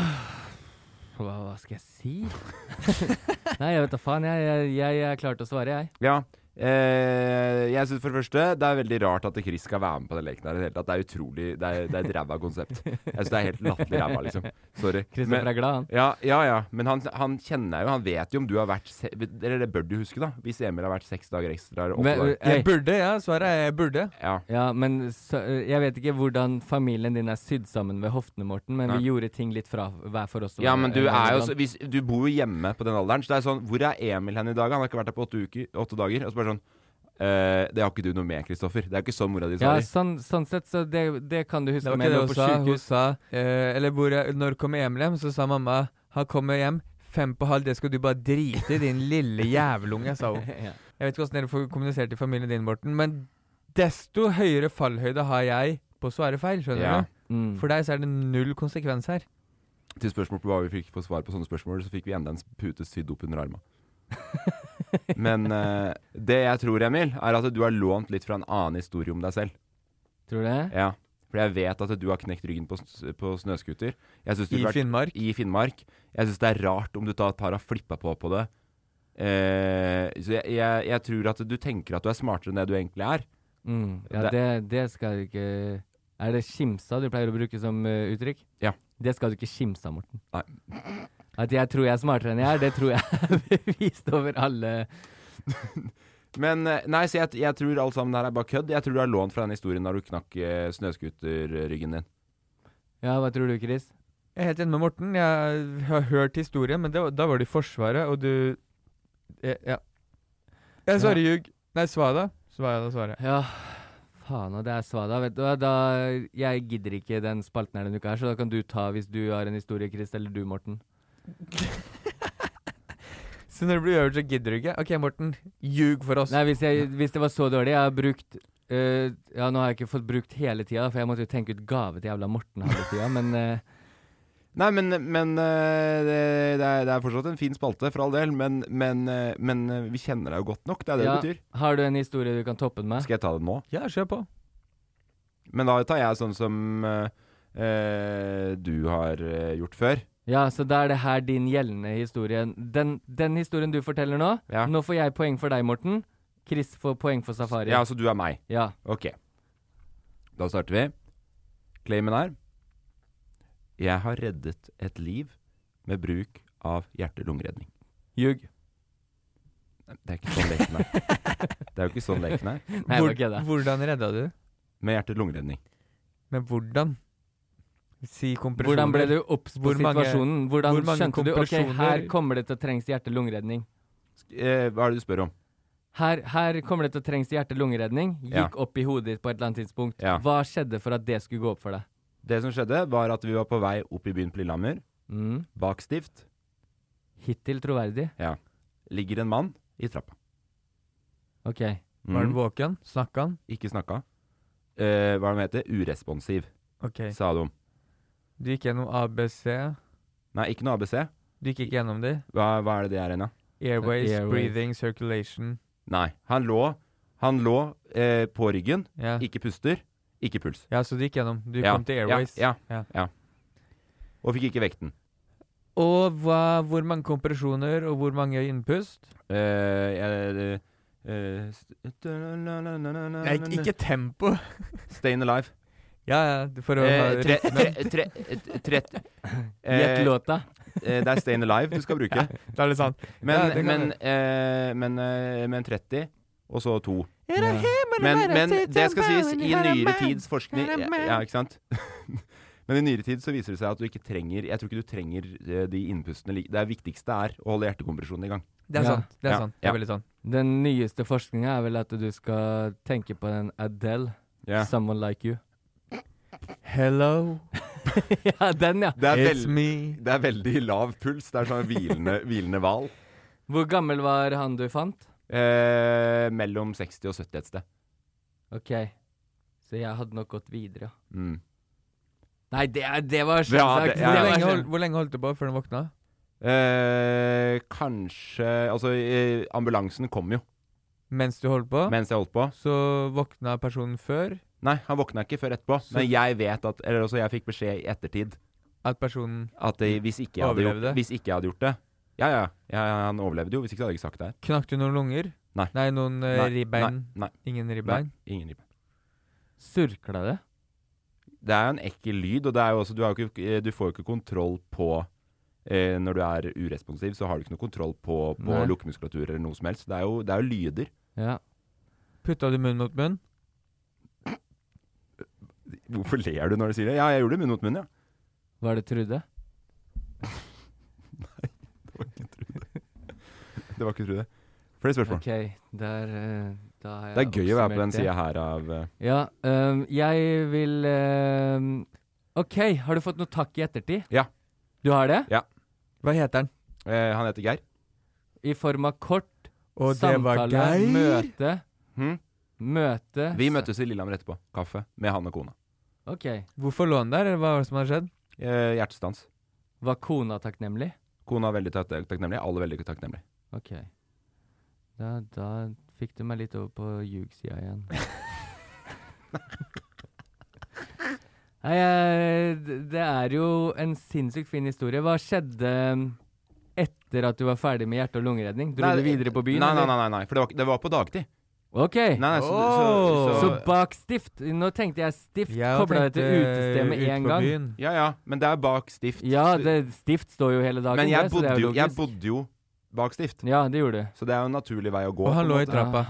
S1: hva, hva skal jeg si? Nei, jeg vet da faen. Jeg, jeg, jeg, jeg er klar til å svare, jeg.
S2: Ja. eh, jeg synes for det første Det er veldig rart at Chris skal være med på den leken. her i Det, hele tatt. det er utrolig Det er, det er et ræva konsept. Jeg synes det er helt latterlig ræva, liksom. Sorry.
S1: Kristoffer er glad, han.
S2: Ja, ja. ja. Men han, han kjenner jo Han vet jo om du har vært se Eller det bør du huske, da. Hvis Emil har vært seks dager ekstra eller åtte
S1: Men,
S2: dager.
S1: eh,
S3: Jeg burde, ja. Svaret er jeg burde.
S2: Ja.
S1: Ja, men så, øh, Jeg vet ikke hvordan familien din er sydd sammen ved hoftene, Morten, men
S2: Nei.
S1: vi gjorde ting litt fra hver for oss.
S2: Ja, men du,
S1: øh,
S2: er jo, så-
S1: hvordan-
S2: hvis, du bor jo hjemme på den alderen, så det er sånn Hvor er Emil hen i dag? Han har ikke vært her på åtte, uker, åtte dager. Og så bare sånn eh, Det har ikke du noe med, Kristoffer. Det er jo ikke sånn mora di sa
S1: Ja,
S2: det.
S1: sånn, sånn sett, så det, det kan du huske.
S3: Det var
S1: men
S3: ikke
S1: jeg
S3: det
S1: lå
S3: hun
S1: på
S3: sa. Hun
S1: sykehus.
S3: sa eh, Eller hvor er, når kommer Emil hjem? liksom, Så sa mamma han kommer hjem fem på halv, det skal du bare drite i, din lille jævelunge, sa hun.
S1: Ja.
S3: Jeg vet ikke hvordan dere får kommunisert til familien din, Morten, men desto høyere fallhøyde har jeg på svære feil, skjønner
S2: Ja.
S3: du?
S1: mm,
S3: For deg så er det null konsekvens her.
S2: Til spørsmål på hva vi fikk på svar på sånne spørsmål, så fikk vi enda en pute sydd opp under arma. Men eh, det jeg tror, Emil, er at du har lånt litt fra en annen historie om deg selv.
S1: Tror du det?
S2: Ja. For jeg vet at du har knekt ryggen på, s- på snøskuter. Jeg synes du
S3: I
S2: burde vært-
S3: Finnmark?
S2: I Finnmark. Jeg syns det er rart om du tar et par har flippa på på det. Eh, så jeg, jeg, jeg tror at du tenker at du er smartere enn det du egentlig er.
S1: Mm, ja,
S2: Det-
S1: det, det skal du ikke Er det skimsa du pleier å bruke som øh, uttrykk?
S2: Ja.
S1: Det skal du ikke skimse av, Morten.
S2: Nei.
S1: At jeg tror jeg er smartere enn jeg er, det tror jeg er bevist over alle
S2: Men eh, nei, så jeg, jeg tror alt sammen det her er bare kødd. Jeg tror du har lånt fra den historien da du knakk eh, snøskuterryggen din.
S1: Ja, hva tror du, Chris?
S3: Jeg er helt enig med Morten. Jeg har hørt historien, men det, var- da var det i Forsvaret, og du eh, Ja. Jeg svarer ljug. Nei, svada. Svada svarer jeg.
S1: Ja, faen og det er svada. Vet du hva, da Jeg gidder ikke den spalten her denne uka her, så da kan du ta hvis du har en historie, Chris, eller du, Morten.
S3: Så når det blir øvelse, gidder du ikke? OK, Morten. Ljug for oss.
S1: Nei, hvis, jeg, hvis det var så dårlig Jeg har brukt øh, Ja, nå har jeg ikke fått brukt hele tida, for jeg måtte jo tenke ut gave til jævla Morten hele tida, men øh,
S2: Nei, men, men eh, det, det, er, det er fortsatt en fin spalte, for all del. Men, men, eh, men eh, vi kjenner deg jo godt nok. Det er det
S1: ja,
S2: det betyr.
S1: Har du en historie du kan toppe den med?
S2: Skal jeg ta det nå?
S3: Ja, kjør på.
S2: Men da tar jeg sånn som eh, eh, du har eh, gjort før.
S1: Ja, så da er det her din gjeldende historie. Den, den historien du forteller nå
S2: Ja.
S1: Nå får jeg poeng for deg, Morten. Chris får poeng for Safari.
S2: Ja, så du er meg.
S1: Ja.
S2: Ok. Da starter vi. Claimen er Jeg har reddet et liv med bruk av hjerte-lungeredning.
S1: Ljug.
S2: Det er ikke sånn leken er. Det er jo ikke sånn leken er.
S3: Nei, Hvor- det var ikke det. hvordan redda du?
S2: Med hjerte-lungeredning.
S3: Men hvordan? Si kompresjoner.
S1: Hvordan ble du obs på
S3: Hvor mange-
S1: situasjonen? Hvordan
S3: hvor mange
S1: skjønte du ok,
S3: kompresjoner-
S1: her kommer det til å trengs hjerte-lungeredning?
S2: Eh, hva er det du spør om?
S1: Her, her kommer det til å trengs hjerte-lungeredning. Gikk
S2: Ja.
S1: opp i hodet ditt på et eller annet tidspunkt.
S2: Ja.
S1: Hva skjedde for at det skulle gå opp for deg?
S2: Det som skjedde, var at vi var på vei opp i byen på Lillehammer.
S1: Mm.
S2: Bak Stift.
S1: Hittil troverdig.
S2: Ja. Ligger en mann i trappa.
S1: Ok.
S3: Var
S2: Mm.
S3: han våken? Snakka han?
S2: Ikke snakka. Eh, hva er det han heter? Uresponsiv,
S3: Ok.
S2: sa de.
S3: Du gikk gjennom ABC.
S2: Nei, ikke noe ABC.
S3: Du gikk ikke gjennom de?
S2: Hva, hva er det det er ennå?
S3: Airways,
S2: Airways.
S3: breathing, circulation.
S2: Nei. Han lå, han lå eh, på ryggen,
S3: Ja.
S2: ikke puster, ikke puls.
S3: Ja, så du gikk gjennom. Du
S2: Ja,
S3: kom til Airways.
S2: Ja, ja, ja. Og fikk ikke vekten.
S3: Og hva, hvor mange kompresjoner og hvor mange innpust?
S2: Eh, jeg, eh, st-
S3: Nei, ikke- ikke tempo.
S2: Stayin' Alive.
S3: Ja, ja, du får høre
S2: Eh, tre, tre,
S3: rytmen.
S2: tre, eh, trett-
S3: Gjett
S2: eh,
S3: låta.
S2: eh, Det er Stayin' Alive du skal bruke.
S3: Ja, da er det sant. Ja,
S2: Men,
S3: det kan
S2: men, eh, men, eh, men 30, og så 2.
S3: Er det himmel
S2: Men,
S3: verden
S2: men
S3: til
S2: det skal sies, i
S3: Tambauen,
S2: nyere
S3: Herman?
S2: tids forskning ja,
S3: Herman?
S2: ja, ikke sant? Men i nyere tid så viser det seg at du ikke trenger Jeg tror ikke du trenger eh, de innpustene like- Det viktigste er å holde hjertekompresjonen i gang.
S3: Det er
S2: Ja.
S3: sant. Det er
S2: Ja,
S3: sant. Det
S2: ja.
S3: er veldig sant.
S1: Den nyeste forskninga er vel at du skal tenke på den Adele,
S2: Ja.
S1: 'Someone Like You'.
S3: Hello.
S1: ja, den, ja.
S2: Det er, vel, det er veldig lav puls. Det er sånn hvilende, hvilende hval.
S1: Hvor gammel var han du fant?
S2: Eh, mellom 60 og 70 et sted.
S1: Ok. Så jeg hadde nok gått videre, ja.
S2: Mm.
S1: Nei, det, er- det var
S2: Ja,
S1: selvsagt.
S2: det-
S1: det
S2: ja.
S3: Hvor
S1: var
S3: lenge,
S1: selvsagt.
S3: hold, hvor lenge holdt du på før den våkna?
S2: Eh, kanskje Altså, eh, ambulansen kom jo
S3: Mens du holdt på?
S2: mens jeg holdt på.
S3: Så våkna personen før
S2: Nei, han våkna ikke før etterpå.
S3: Så-
S2: Men jeg vet at Eller også, jeg fikk beskjed i ettertid
S3: at personen
S2: at eh, hvis, ikke jeg hadde gjort,
S3: Overlevde?
S2: hvis ikke jeg hadde gjort det Ja, ja. ja ja, han overlevde jo. Hvis ikke så hadde jeg ikke sagt det her.
S3: Knakk du noen lunger?
S2: Nei.
S3: noen eh,
S2: Nei,
S3: ribbein?
S2: nei, nei.
S3: Ingen ribbein?
S2: Nei, ingen ribbein.
S1: Surkla det?
S2: Det er jo en ekkel lyd, og det er jo også, du, har jo ikke, eh, du får jo ikke kontroll på eh, Når du er uresponsiv, så har du ikke noe kontroll på, på
S1: Nei.
S2: lukkemuskulatur eller noe som helst. Det er jo, det er jo lyder.
S1: Ja.
S3: Putta du munn mot munn?
S2: Hvorfor ler du når du sier det? Ja, jeg gjorde det munn mot munn, ja.
S1: Var det Trude?
S2: Det var ikke Trude. Flere spørsmål.
S1: Ok, der, eh, da har
S2: Det er
S1: jeg
S2: gøy å være på
S1: oppsummert
S2: den
S1: det.
S2: sida her av eh,
S1: Ja, øhm, jeg vil øhm, Ok, har du fått noe takk i ettertid?
S2: Ja.
S1: Du har det?
S2: Ja.
S3: Hva heter han?
S2: Eh, han heter Geir.
S1: I form av kort,
S3: Og det var
S1: samtale,
S3: Geir.
S1: møte
S2: Hm?
S1: Møte
S2: Vi møttes i Lillehammer etterpå. Kaffe med han og kona.
S1: Ok.
S3: Hvorfor lå han der, eller hva var det som hadde skjedd?
S2: Eh, hjertestans.
S1: Var kona takknemlig?
S2: Kona er veldig tak takknemlig. Alle er veldig takknemlig.
S1: Ok. Da, da fikk du meg litt over på ljugsida igjen. Nei, eh, d- det er jo en sinnssykt fin historie. Hva skjedde um, etter at du var ferdig med hjerte- og lungeredning? Dro
S2: Nei,
S1: du videre på byen?
S2: Nei, nei,
S1: eller?
S2: nei, nei, nei for det var, ikke- det var på dagtid.
S1: Ok.
S2: Nei, nei, så,
S1: så,
S2: så, så,
S1: bak stift Nå tenkte jeg stift
S3: Jeg
S1: kobla det til
S3: tenkte
S1: utested
S2: eh,
S1: med
S3: ut
S1: en
S3: på
S1: gang.
S3: byen.
S2: Ja ja, men det er bak stift.
S1: Ja, det, stift står jo hele dagen.
S2: men
S1: der,
S2: jeg
S1: så det
S2: bodde,
S1: er
S2: jo, jeg
S1: logisk.
S2: bodde jo bak stift.
S1: Ja, det gjorde du.
S2: Så det er jo en naturlig vei å gå.
S3: Og han
S2: på en
S3: lå i
S2: måte.
S3: trappa.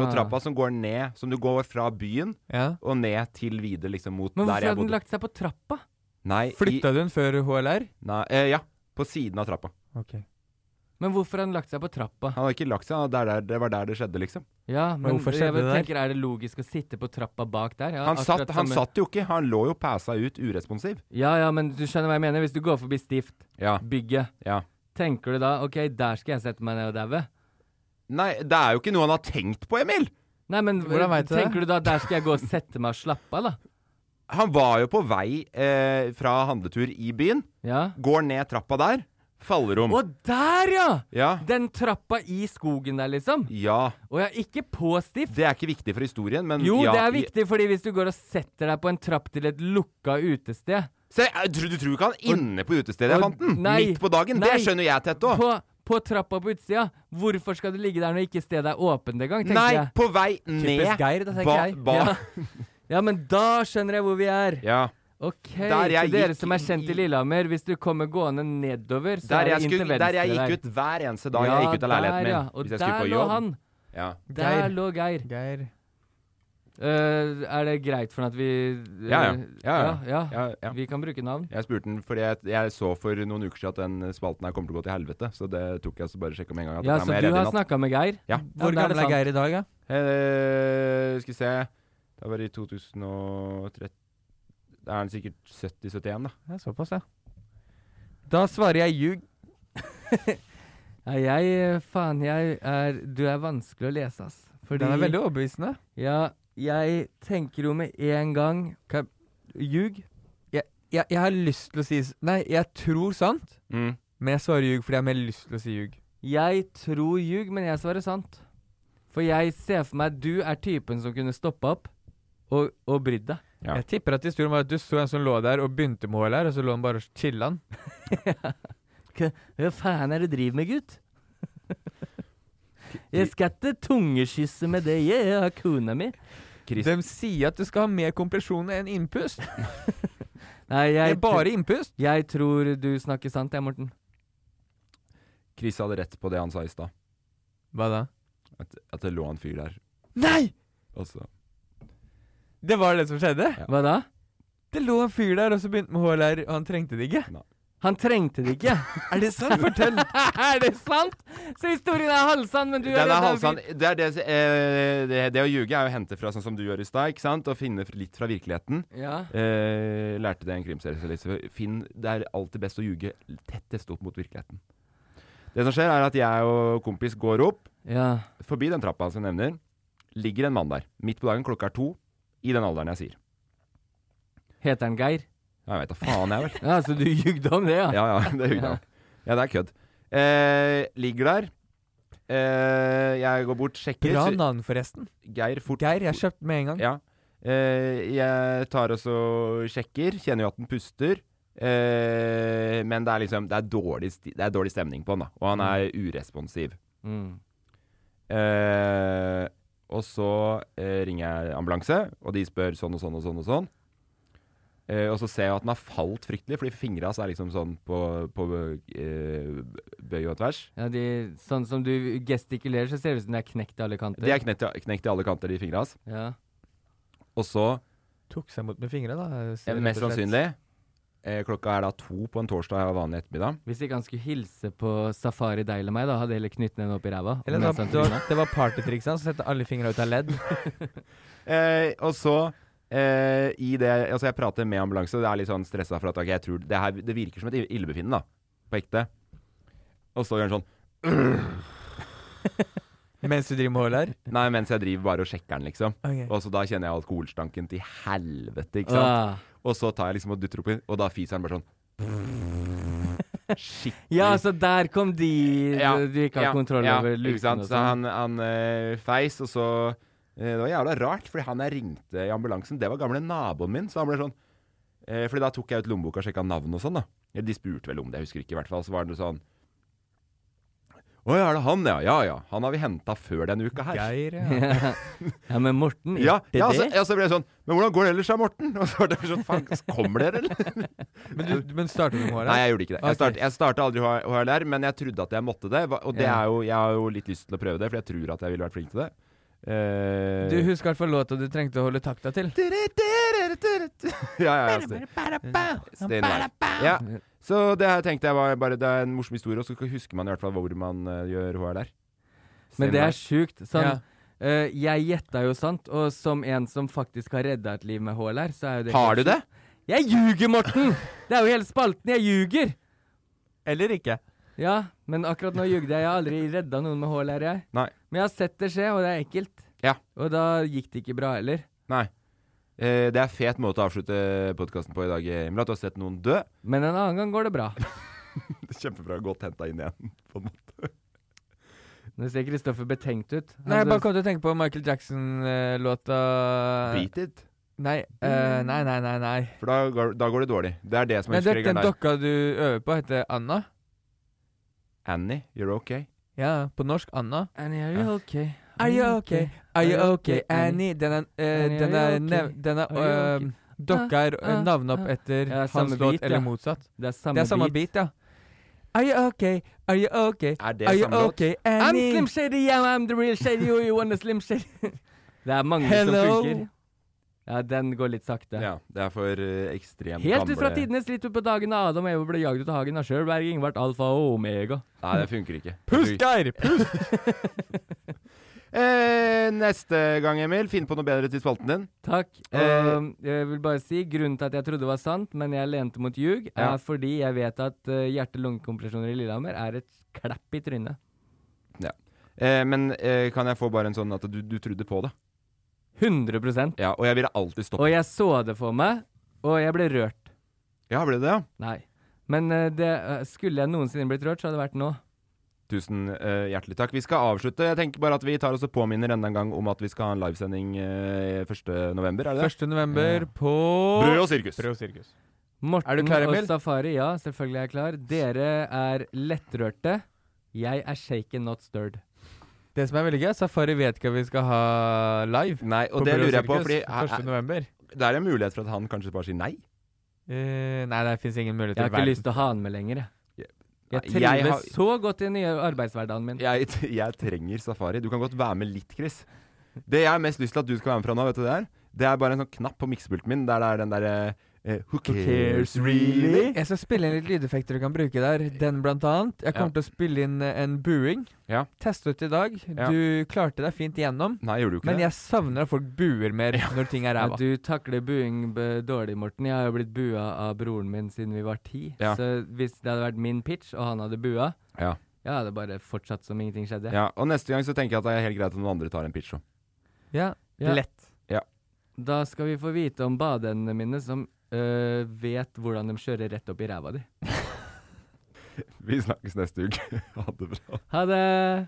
S2: På trappa som går ned, som du går fra byen
S3: Ja.
S2: og ned til videre, liksom mot
S1: Men
S2: der
S1: hvorfor hadde
S2: jeg
S1: den
S2: bodde.
S1: lagt seg på trappa?
S2: Nei, i,
S3: Flytta du den før HLR?
S2: nei eh, ja, på siden av trappa.
S3: Ok.
S1: Men hvorfor hadde den lagt seg på trappa?
S2: Han hadde ikke lagt seg, han var der, der, det var der det skjedde, liksom.
S1: Ja,
S3: Men
S1: men
S3: hvorfor
S1: jeg
S3: skjedde det
S1: tenker, er det logisk å sitte på trappa bak der? Ja,
S2: Han,
S1: akkurat
S2: satt, han
S1: samme-
S2: satt jo ikke, han lå jo passa ut uresponsiv.
S1: Ja, ja, men du skjønner hva jeg mener. Hvis du går forbi stift,
S2: Ja.
S1: bygget,
S2: ja.
S1: tenker du da OK, der skal jeg sette meg ned og daue?
S2: Nei, det er jo ikke noe han har tenkt på, Emil!
S1: Nei, men
S3: Hvordan vet du det?
S1: tenker du da der skal jeg gå og sette meg og slappe av, da?
S2: Han var jo på vei eh, fra handletur i byen.
S1: Ja.
S2: Går ned trappa der. Fallerom.
S1: Å, der, ja!
S2: Ja.
S1: Den trappa i skogen der, liksom.
S2: ja.
S1: Og jeg er ikke på stift.
S2: Det er ikke viktig for historien, men
S1: Jo,
S2: ja,
S1: det er viktig, fordi hvis du går og setter deg på en trapp til et lukka utested
S2: Se, jeg tror- du tror ikke han inne på utestedet jeg
S1: Og-
S2: fant den?
S1: nei,
S2: Midt på dagen?
S1: nei.
S2: det skjønner jeg, Tetto.
S1: på, på trappa på utsida, hvorfor skal du ligge der når ikke stedet er åpent engang, tenker
S2: Nei,
S1: jeg.
S2: på vei ned
S3: Geir, da, tenker
S2: ba,
S3: jeg.
S2: ba,
S1: Ja, men da skjønner jeg hvor vi er.
S2: Ja.
S1: Ok,
S2: Der jeg
S1: så dere
S2: gikk
S1: som er kjent i Lillehammer, hvis du kommer gående nedover, så
S2: Der
S1: er det
S2: jeg,
S1: inn til
S2: skulle,
S1: venstre
S2: der jeg gikk ut hver eneste dag
S1: Ja,
S2: jeg gikk ut av leiligheten
S1: der,
S2: min.
S1: ja. Og
S2: hvis jeg
S1: der
S2: skulle på
S1: lå
S2: jobb.
S1: han.
S2: Ja.
S1: Der lå Geir. Eh, er det greit for han at vi eh,
S2: Ja, ja. Ja, ja. Ja,
S1: Vi kan bruke navn.
S2: Jeg spurte den fordi jeg, jeg så for noen uker siden at den spalten her kommer til å gå til helvete. Så det tok jeg så bare sjekka med en gang. At
S1: Ja,
S2: den her må
S1: så
S2: jeg
S1: du
S2: redde i
S1: har
S2: natt.
S1: snakka med Geir?
S2: Ja.
S1: Hvor Ja, da er gammel det er sant. Geir
S3: i dag, da?
S2: Eh, skal vi se Da var det i 2013 Da er han sikkert 70-71, da.
S3: Ja, såpass, ja. Da svarer jeg ljug.
S1: Nei, jeg Faen, jeg er Du er vanskelig å lese, ass.
S3: Den er veldig overbevisende.
S1: Ja, jeg tenker jo med en gang
S3: Ljug? Jeg, jeg, jeg har lyst til å si s- Nei, jeg tror sant,
S2: Mm.
S3: men jeg svarer ljug fordi jeg har mer lyst til å si ljug.
S1: Jeg tror ljug, men jeg svarer sant. For jeg ser for meg at du er typen som kunne stoppa opp og, og brydd deg.
S3: Jeg tipper at historien var at du så en som lå der og begynte med HLR, og så lå han bare og chilla.
S1: Hva, hva faen er det du driver med, gutt? jeg skal ikke tungeskysse med det, jeg har kona mi.
S3: De sier at du skal ha mer kompresjon enn innpust.
S1: Nei, jeg
S3: Det er bare
S1: tr-
S3: innpust.
S1: Jeg tror du snakker sant, jeg, Morten.
S2: Chris hadde rett på det han sa i stad.
S3: Hva da?
S2: At, at det lå en fyr der. altså.
S3: Nei!
S2: Og så
S3: Det var det som skjedde?
S1: Hva da?
S3: Det lå en fyr der, og så begynte med HLR, og han trengte det ikke.
S1: Han trengte det ikke.
S3: er det sant? Fortell.
S1: er det sant? Så historien er halvsann, men du
S2: Den
S1: er
S2: er
S1: redd
S2: halvsann. Det, er det, som- eh, det, det å ljuge er jo å hente fra sånn som du gjør i stad, ikke sant? Og finne f- litt fra virkeligheten.
S1: Ja.
S2: Eh, lærte det i en krimserie. så litt- Finn, det er alltid best å ljuge tettest opp mot virkeligheten. Det som skjer, er at jeg og kompis går opp,
S1: Ja.
S2: forbi den trappa som jeg nevner. Ligger en mann der. Midt på dagen, klokka er to. I den alderen jeg sier.
S1: Heter han Geir?
S2: Jeg veit da faen, jeg vel.
S1: ja, Så du jugde om det, ja?
S2: Ja, ja, det gjorde jeg. Ja, det er kødd. Eh, ligger der. Eh, jeg går bort, sjekker.
S3: Bra
S2: så-
S3: navn, forresten.
S2: Geir, fort.
S3: Geir, jeg kjøpte med en gang.
S2: Ja. Eh, jeg tar og så sjekker. Kjenner jo at den puster. Eh, men det er liksom Det er dårlig, sti det er dårlig stemning på han, da. Og han er uresponsiv.
S1: Mm.
S2: Eh, og så eh, ringer jeg ambulanse, og de spør sånn og sånn og sånn. Og sånn Eh, og så ser jeg at den har falt fryktelig, fordi fingra hans er liksom sånn på, på eh, bøy og tvers.
S1: Ja, de, sånn som du gestikulerer, så ser det ut som det er knekt i alle kanter.
S2: De er knekt, knekt i alle kanter, de fingra hans.
S1: Ja.
S2: Og så,
S3: Tok seg mot med fingrene, da.
S2: eh, mest sannsynlig eh, Klokka er da to på en torsdag og vanlig ettermiddag.
S1: Hvis ikke han skulle hilse på Safari deg eller meg, da hadde jeg heller knyttet den opp i ræva. og
S3: Eller det
S2: sånn,
S1: mens han
S3: var, det var,
S1: trynet.
S3: det var partytrikset hans, å sette alle fingra ut av ledd.
S2: Eh, og så eh, i det, altså Jeg prater med ambulanse, og jeg er litt sånn stressa for at ok, jeg tror det, her, det virker som et ill- illebefinnende, da. På ekte. Og så gjør han sånn
S3: Mens du driver med HLR?
S2: Nei, mens jeg driver bare og sjekker den, liksom.
S3: Ok.
S2: Og så da kjenner jeg alkoholstanken til helvete, ikke
S1: Ah.
S2: sant. Og så tar jeg liksom og dytter oppi, og da fiser han bare sånn.
S1: Ja, så der kom de du ikke har
S2: ja,
S1: kontroll
S2: ja,
S1: over
S2: ikke
S1: luken og
S2: sant? Så
S1: sånn.
S2: han, han eh, feis, og så eh, Det var jævla rart, fordi han jeg ringte i ambulansen, det var gamle naboen min. Så han ble sånn eh, Fordi da tok jeg ut lommeboka og sjekka navn og sånn, da. Eller De spurte vel om det, jeg husker ikke i hvert fall. Så var det sånn Å ja, er det han, ja? Ja ja. Han har vi henta før denne uka her.
S3: Geir,
S1: ja. ja, men Morten,
S2: Ja,
S1: det
S2: ja, så,
S1: det?
S2: ja, så ble jeg sånn Men hvordan går det ellers, da, Morten? Og så var det sånn Faen, kommer dere, eller?
S3: Men, du, men startet du med HLR?
S2: Nei, jeg gjorde ikke det.
S3: Ok.
S2: Jeg, start, jeg starta aldri H- HLR, men jeg trodde at jeg måtte det. hva- Og det
S3: Ja.
S2: er jo, jeg har jo litt lyst til å prøve det, for jeg tror at jeg ville vært flink til det. Eh,
S3: Du husker i hvert fall låta du trengte å holde takta til.
S2: ja, ja, ja, Sten- Sten Wei. ja. Så det her tenkte jeg var bare Det er en morsom historie, og så husker man i hvert fall hvor man eh, gjør HLR. Sten
S1: Men det
S2: Wei.
S1: er sjukt. Sånn,
S2: Ja.
S1: eh, jeg gjetta jo sant, og som en som faktisk har redda et liv med HLR, så er jo det
S2: Har
S1: helt
S2: du det?
S1: sjukt. Jeg ljuger, Morten! Det er jo hele spalten. Jeg ljuger!
S3: Eller ikke.
S1: Ja, men akkurat nå ljugde jeg. Jeg har aldri redda noen med HLR, jeg.
S2: Nei.
S1: Men jeg har sett det skje, og det er ekkelt.
S2: Ja.
S1: Og da gikk det ikke bra heller.
S2: Nei. Eh, det er fet måte å avslutte podkasten på i dag, Emil. At du har sett noen dø.
S1: Men en annen gang går det bra.
S2: Kjempebra. Godt henta inn igjen, på en måte.
S1: Nå ser Kristoffer betenkt ut.
S3: Nei, jeg bare kom til å tenke på Michael eh, Jackson-låta Eh.
S2: Beat it.
S3: Nei, eh,
S1: Mm.
S3: nei, nei, nei. nei.
S2: For da går, da går det dårlig. Det er det som
S3: Nei,
S2: er
S3: du vet,
S2: huskeregelen
S3: den
S2: der.
S3: dokka du øver på, heter Anna.
S2: Annie, you're okay.
S3: Ja, på norsk Anna.
S1: Annie, are you okay?
S3: Are you okay? Are you okay, Annie? Den er, eh,
S1: Annie,
S3: den
S1: are
S3: er,
S1: you
S3: nev,
S1: okay?
S3: den er
S1: Are you
S3: eh,
S1: okay?
S3: Dokka er
S1: Ah, ah,
S3: navnet opp
S1: ah.
S3: etter
S1: Ja, det er
S3: hans
S1: samme
S3: låt,
S1: bit,
S3: eller
S1: ja.
S3: motsatt.
S1: Det er samme
S3: bit. ja. Are you okay? Are you okay?
S1: Er
S3: Are you okay,
S1: I'm
S3: Annie?
S1: Slim Shady, yeah, I'm the real Shady, you, you want a Slim Shady? Det er mange
S3: Hello?
S1: som funker. Ja, den går litt sakte.
S2: Ja, det er for eh, ekstremt
S1: Helt ut fra
S2: gamle-
S1: tidenes litt ut på dagen da Adam og Eva ble jaget ut av hagen av Sjølberg, Ingvart, Alfa og Omega.
S2: Nei, det funker ikke.
S1: Pust,
S3: Geir! Pust!
S2: Eh, neste gang, Emil, finn på noe bedre til spalten din.
S1: Takk.
S2: Eh,
S1: Og jeg vil bare si, grunnen til at jeg trodde det var sant, men jeg lente mot ljug, er
S2: Ja.
S1: fordi jeg vet at eh, hjerte-lungekompresjoner i Lillehammer er et klapp i trynet.
S2: ja. eh, men eh, kan jeg få bare en sånn at du, du trodde på det?
S1: 100
S2: Ja, Og jeg ville alltid stoppe.
S1: Og jeg så det for meg, og jeg ble rørt.
S2: Ja, ble det det?
S1: Nei. Men eh, det, eh, skulle jeg noensinne blitt rørt, så hadde det vært nå.
S2: Tusen eh, hjertelig takk. Vi skal avslutte. Jeg tenker bare at vi tar oss og påminner enda en gang om at vi skal ha en livesending eh, 1. november, er det det?
S3: 1. november på
S2: Brød og sirkus.
S3: Brød og sirkus.
S1: Morten
S3: Er du klar,
S1: og
S3: Emil?
S1: Safari, ja, selvfølgelig er jeg klar. Dere er lettrørte. Jeg er shaken, not stirred.
S3: Det som er veldig gøy, er Safari vet ikke hva vi skal ha live.
S2: Nei, og det
S3: Brød
S2: lurer jeg på,
S3: sirkus
S2: fordi
S3: 1. november.
S2: Da er det en mulighet for at han kanskje bare sier nei.
S3: Eh, nei, det fins ingen mulighet
S1: Jeg har
S3: i
S1: ikke
S3: verden.
S1: lyst til å ha den med lenger, jeg. Jeg
S2: Nei, jeg
S1: trives
S2: har-
S1: så godt i den nye arbeidshverdagen min.
S2: Jeg, jeg trenger safari. Du kan godt være med litt, Chris. Det jeg har mest lyst til at du skal være med fra nå, vet du det er? Det er bare en sånn knapp på miksepulten min der det er den derre eh, Who cares, really?
S3: Jeg skal spille inn litt lydeffekter du kan bruke der. Den, blant annet. Jeg
S2: Ja.
S3: kommer til å spille inn eh, en buing.
S2: Ja.
S3: Teste ut i dag.
S2: Ja.
S3: Du klarte deg fint igjennom.
S2: Nei, gjorde du ikke
S3: men
S2: det?
S3: jeg savner at folk buer mer når ting er
S1: Ja,
S3: ræva.
S1: du takler buing b- dårlig, Morten. Jeg har jo blitt bua av broren min siden vi var ti.
S2: Ja.
S1: Så hvis det hadde vært min pitch, og han hadde bua,
S2: Ja.
S1: jeg hadde bare fortsatt som ingenting skjedde.
S2: Ja, og neste gang så tenker jeg at det er helt greit at noen andre tar en pitch òg.
S3: Ja,
S1: Ja.
S3: lett.
S2: Ja.
S1: Da skal vi få vite om badeendene mine, som øh, vet hvordan de kjører rett opp i ræva di.
S2: Vi snakkes neste uke. ha det bra.
S1: Ha det!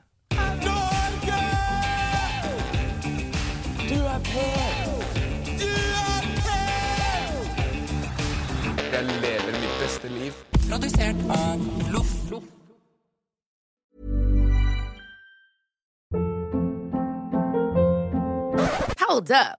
S6: Du er på! Du er på!
S10: Jeg lever mitt beste liv.
S6: Produsert av Loff.
S11: Hold up.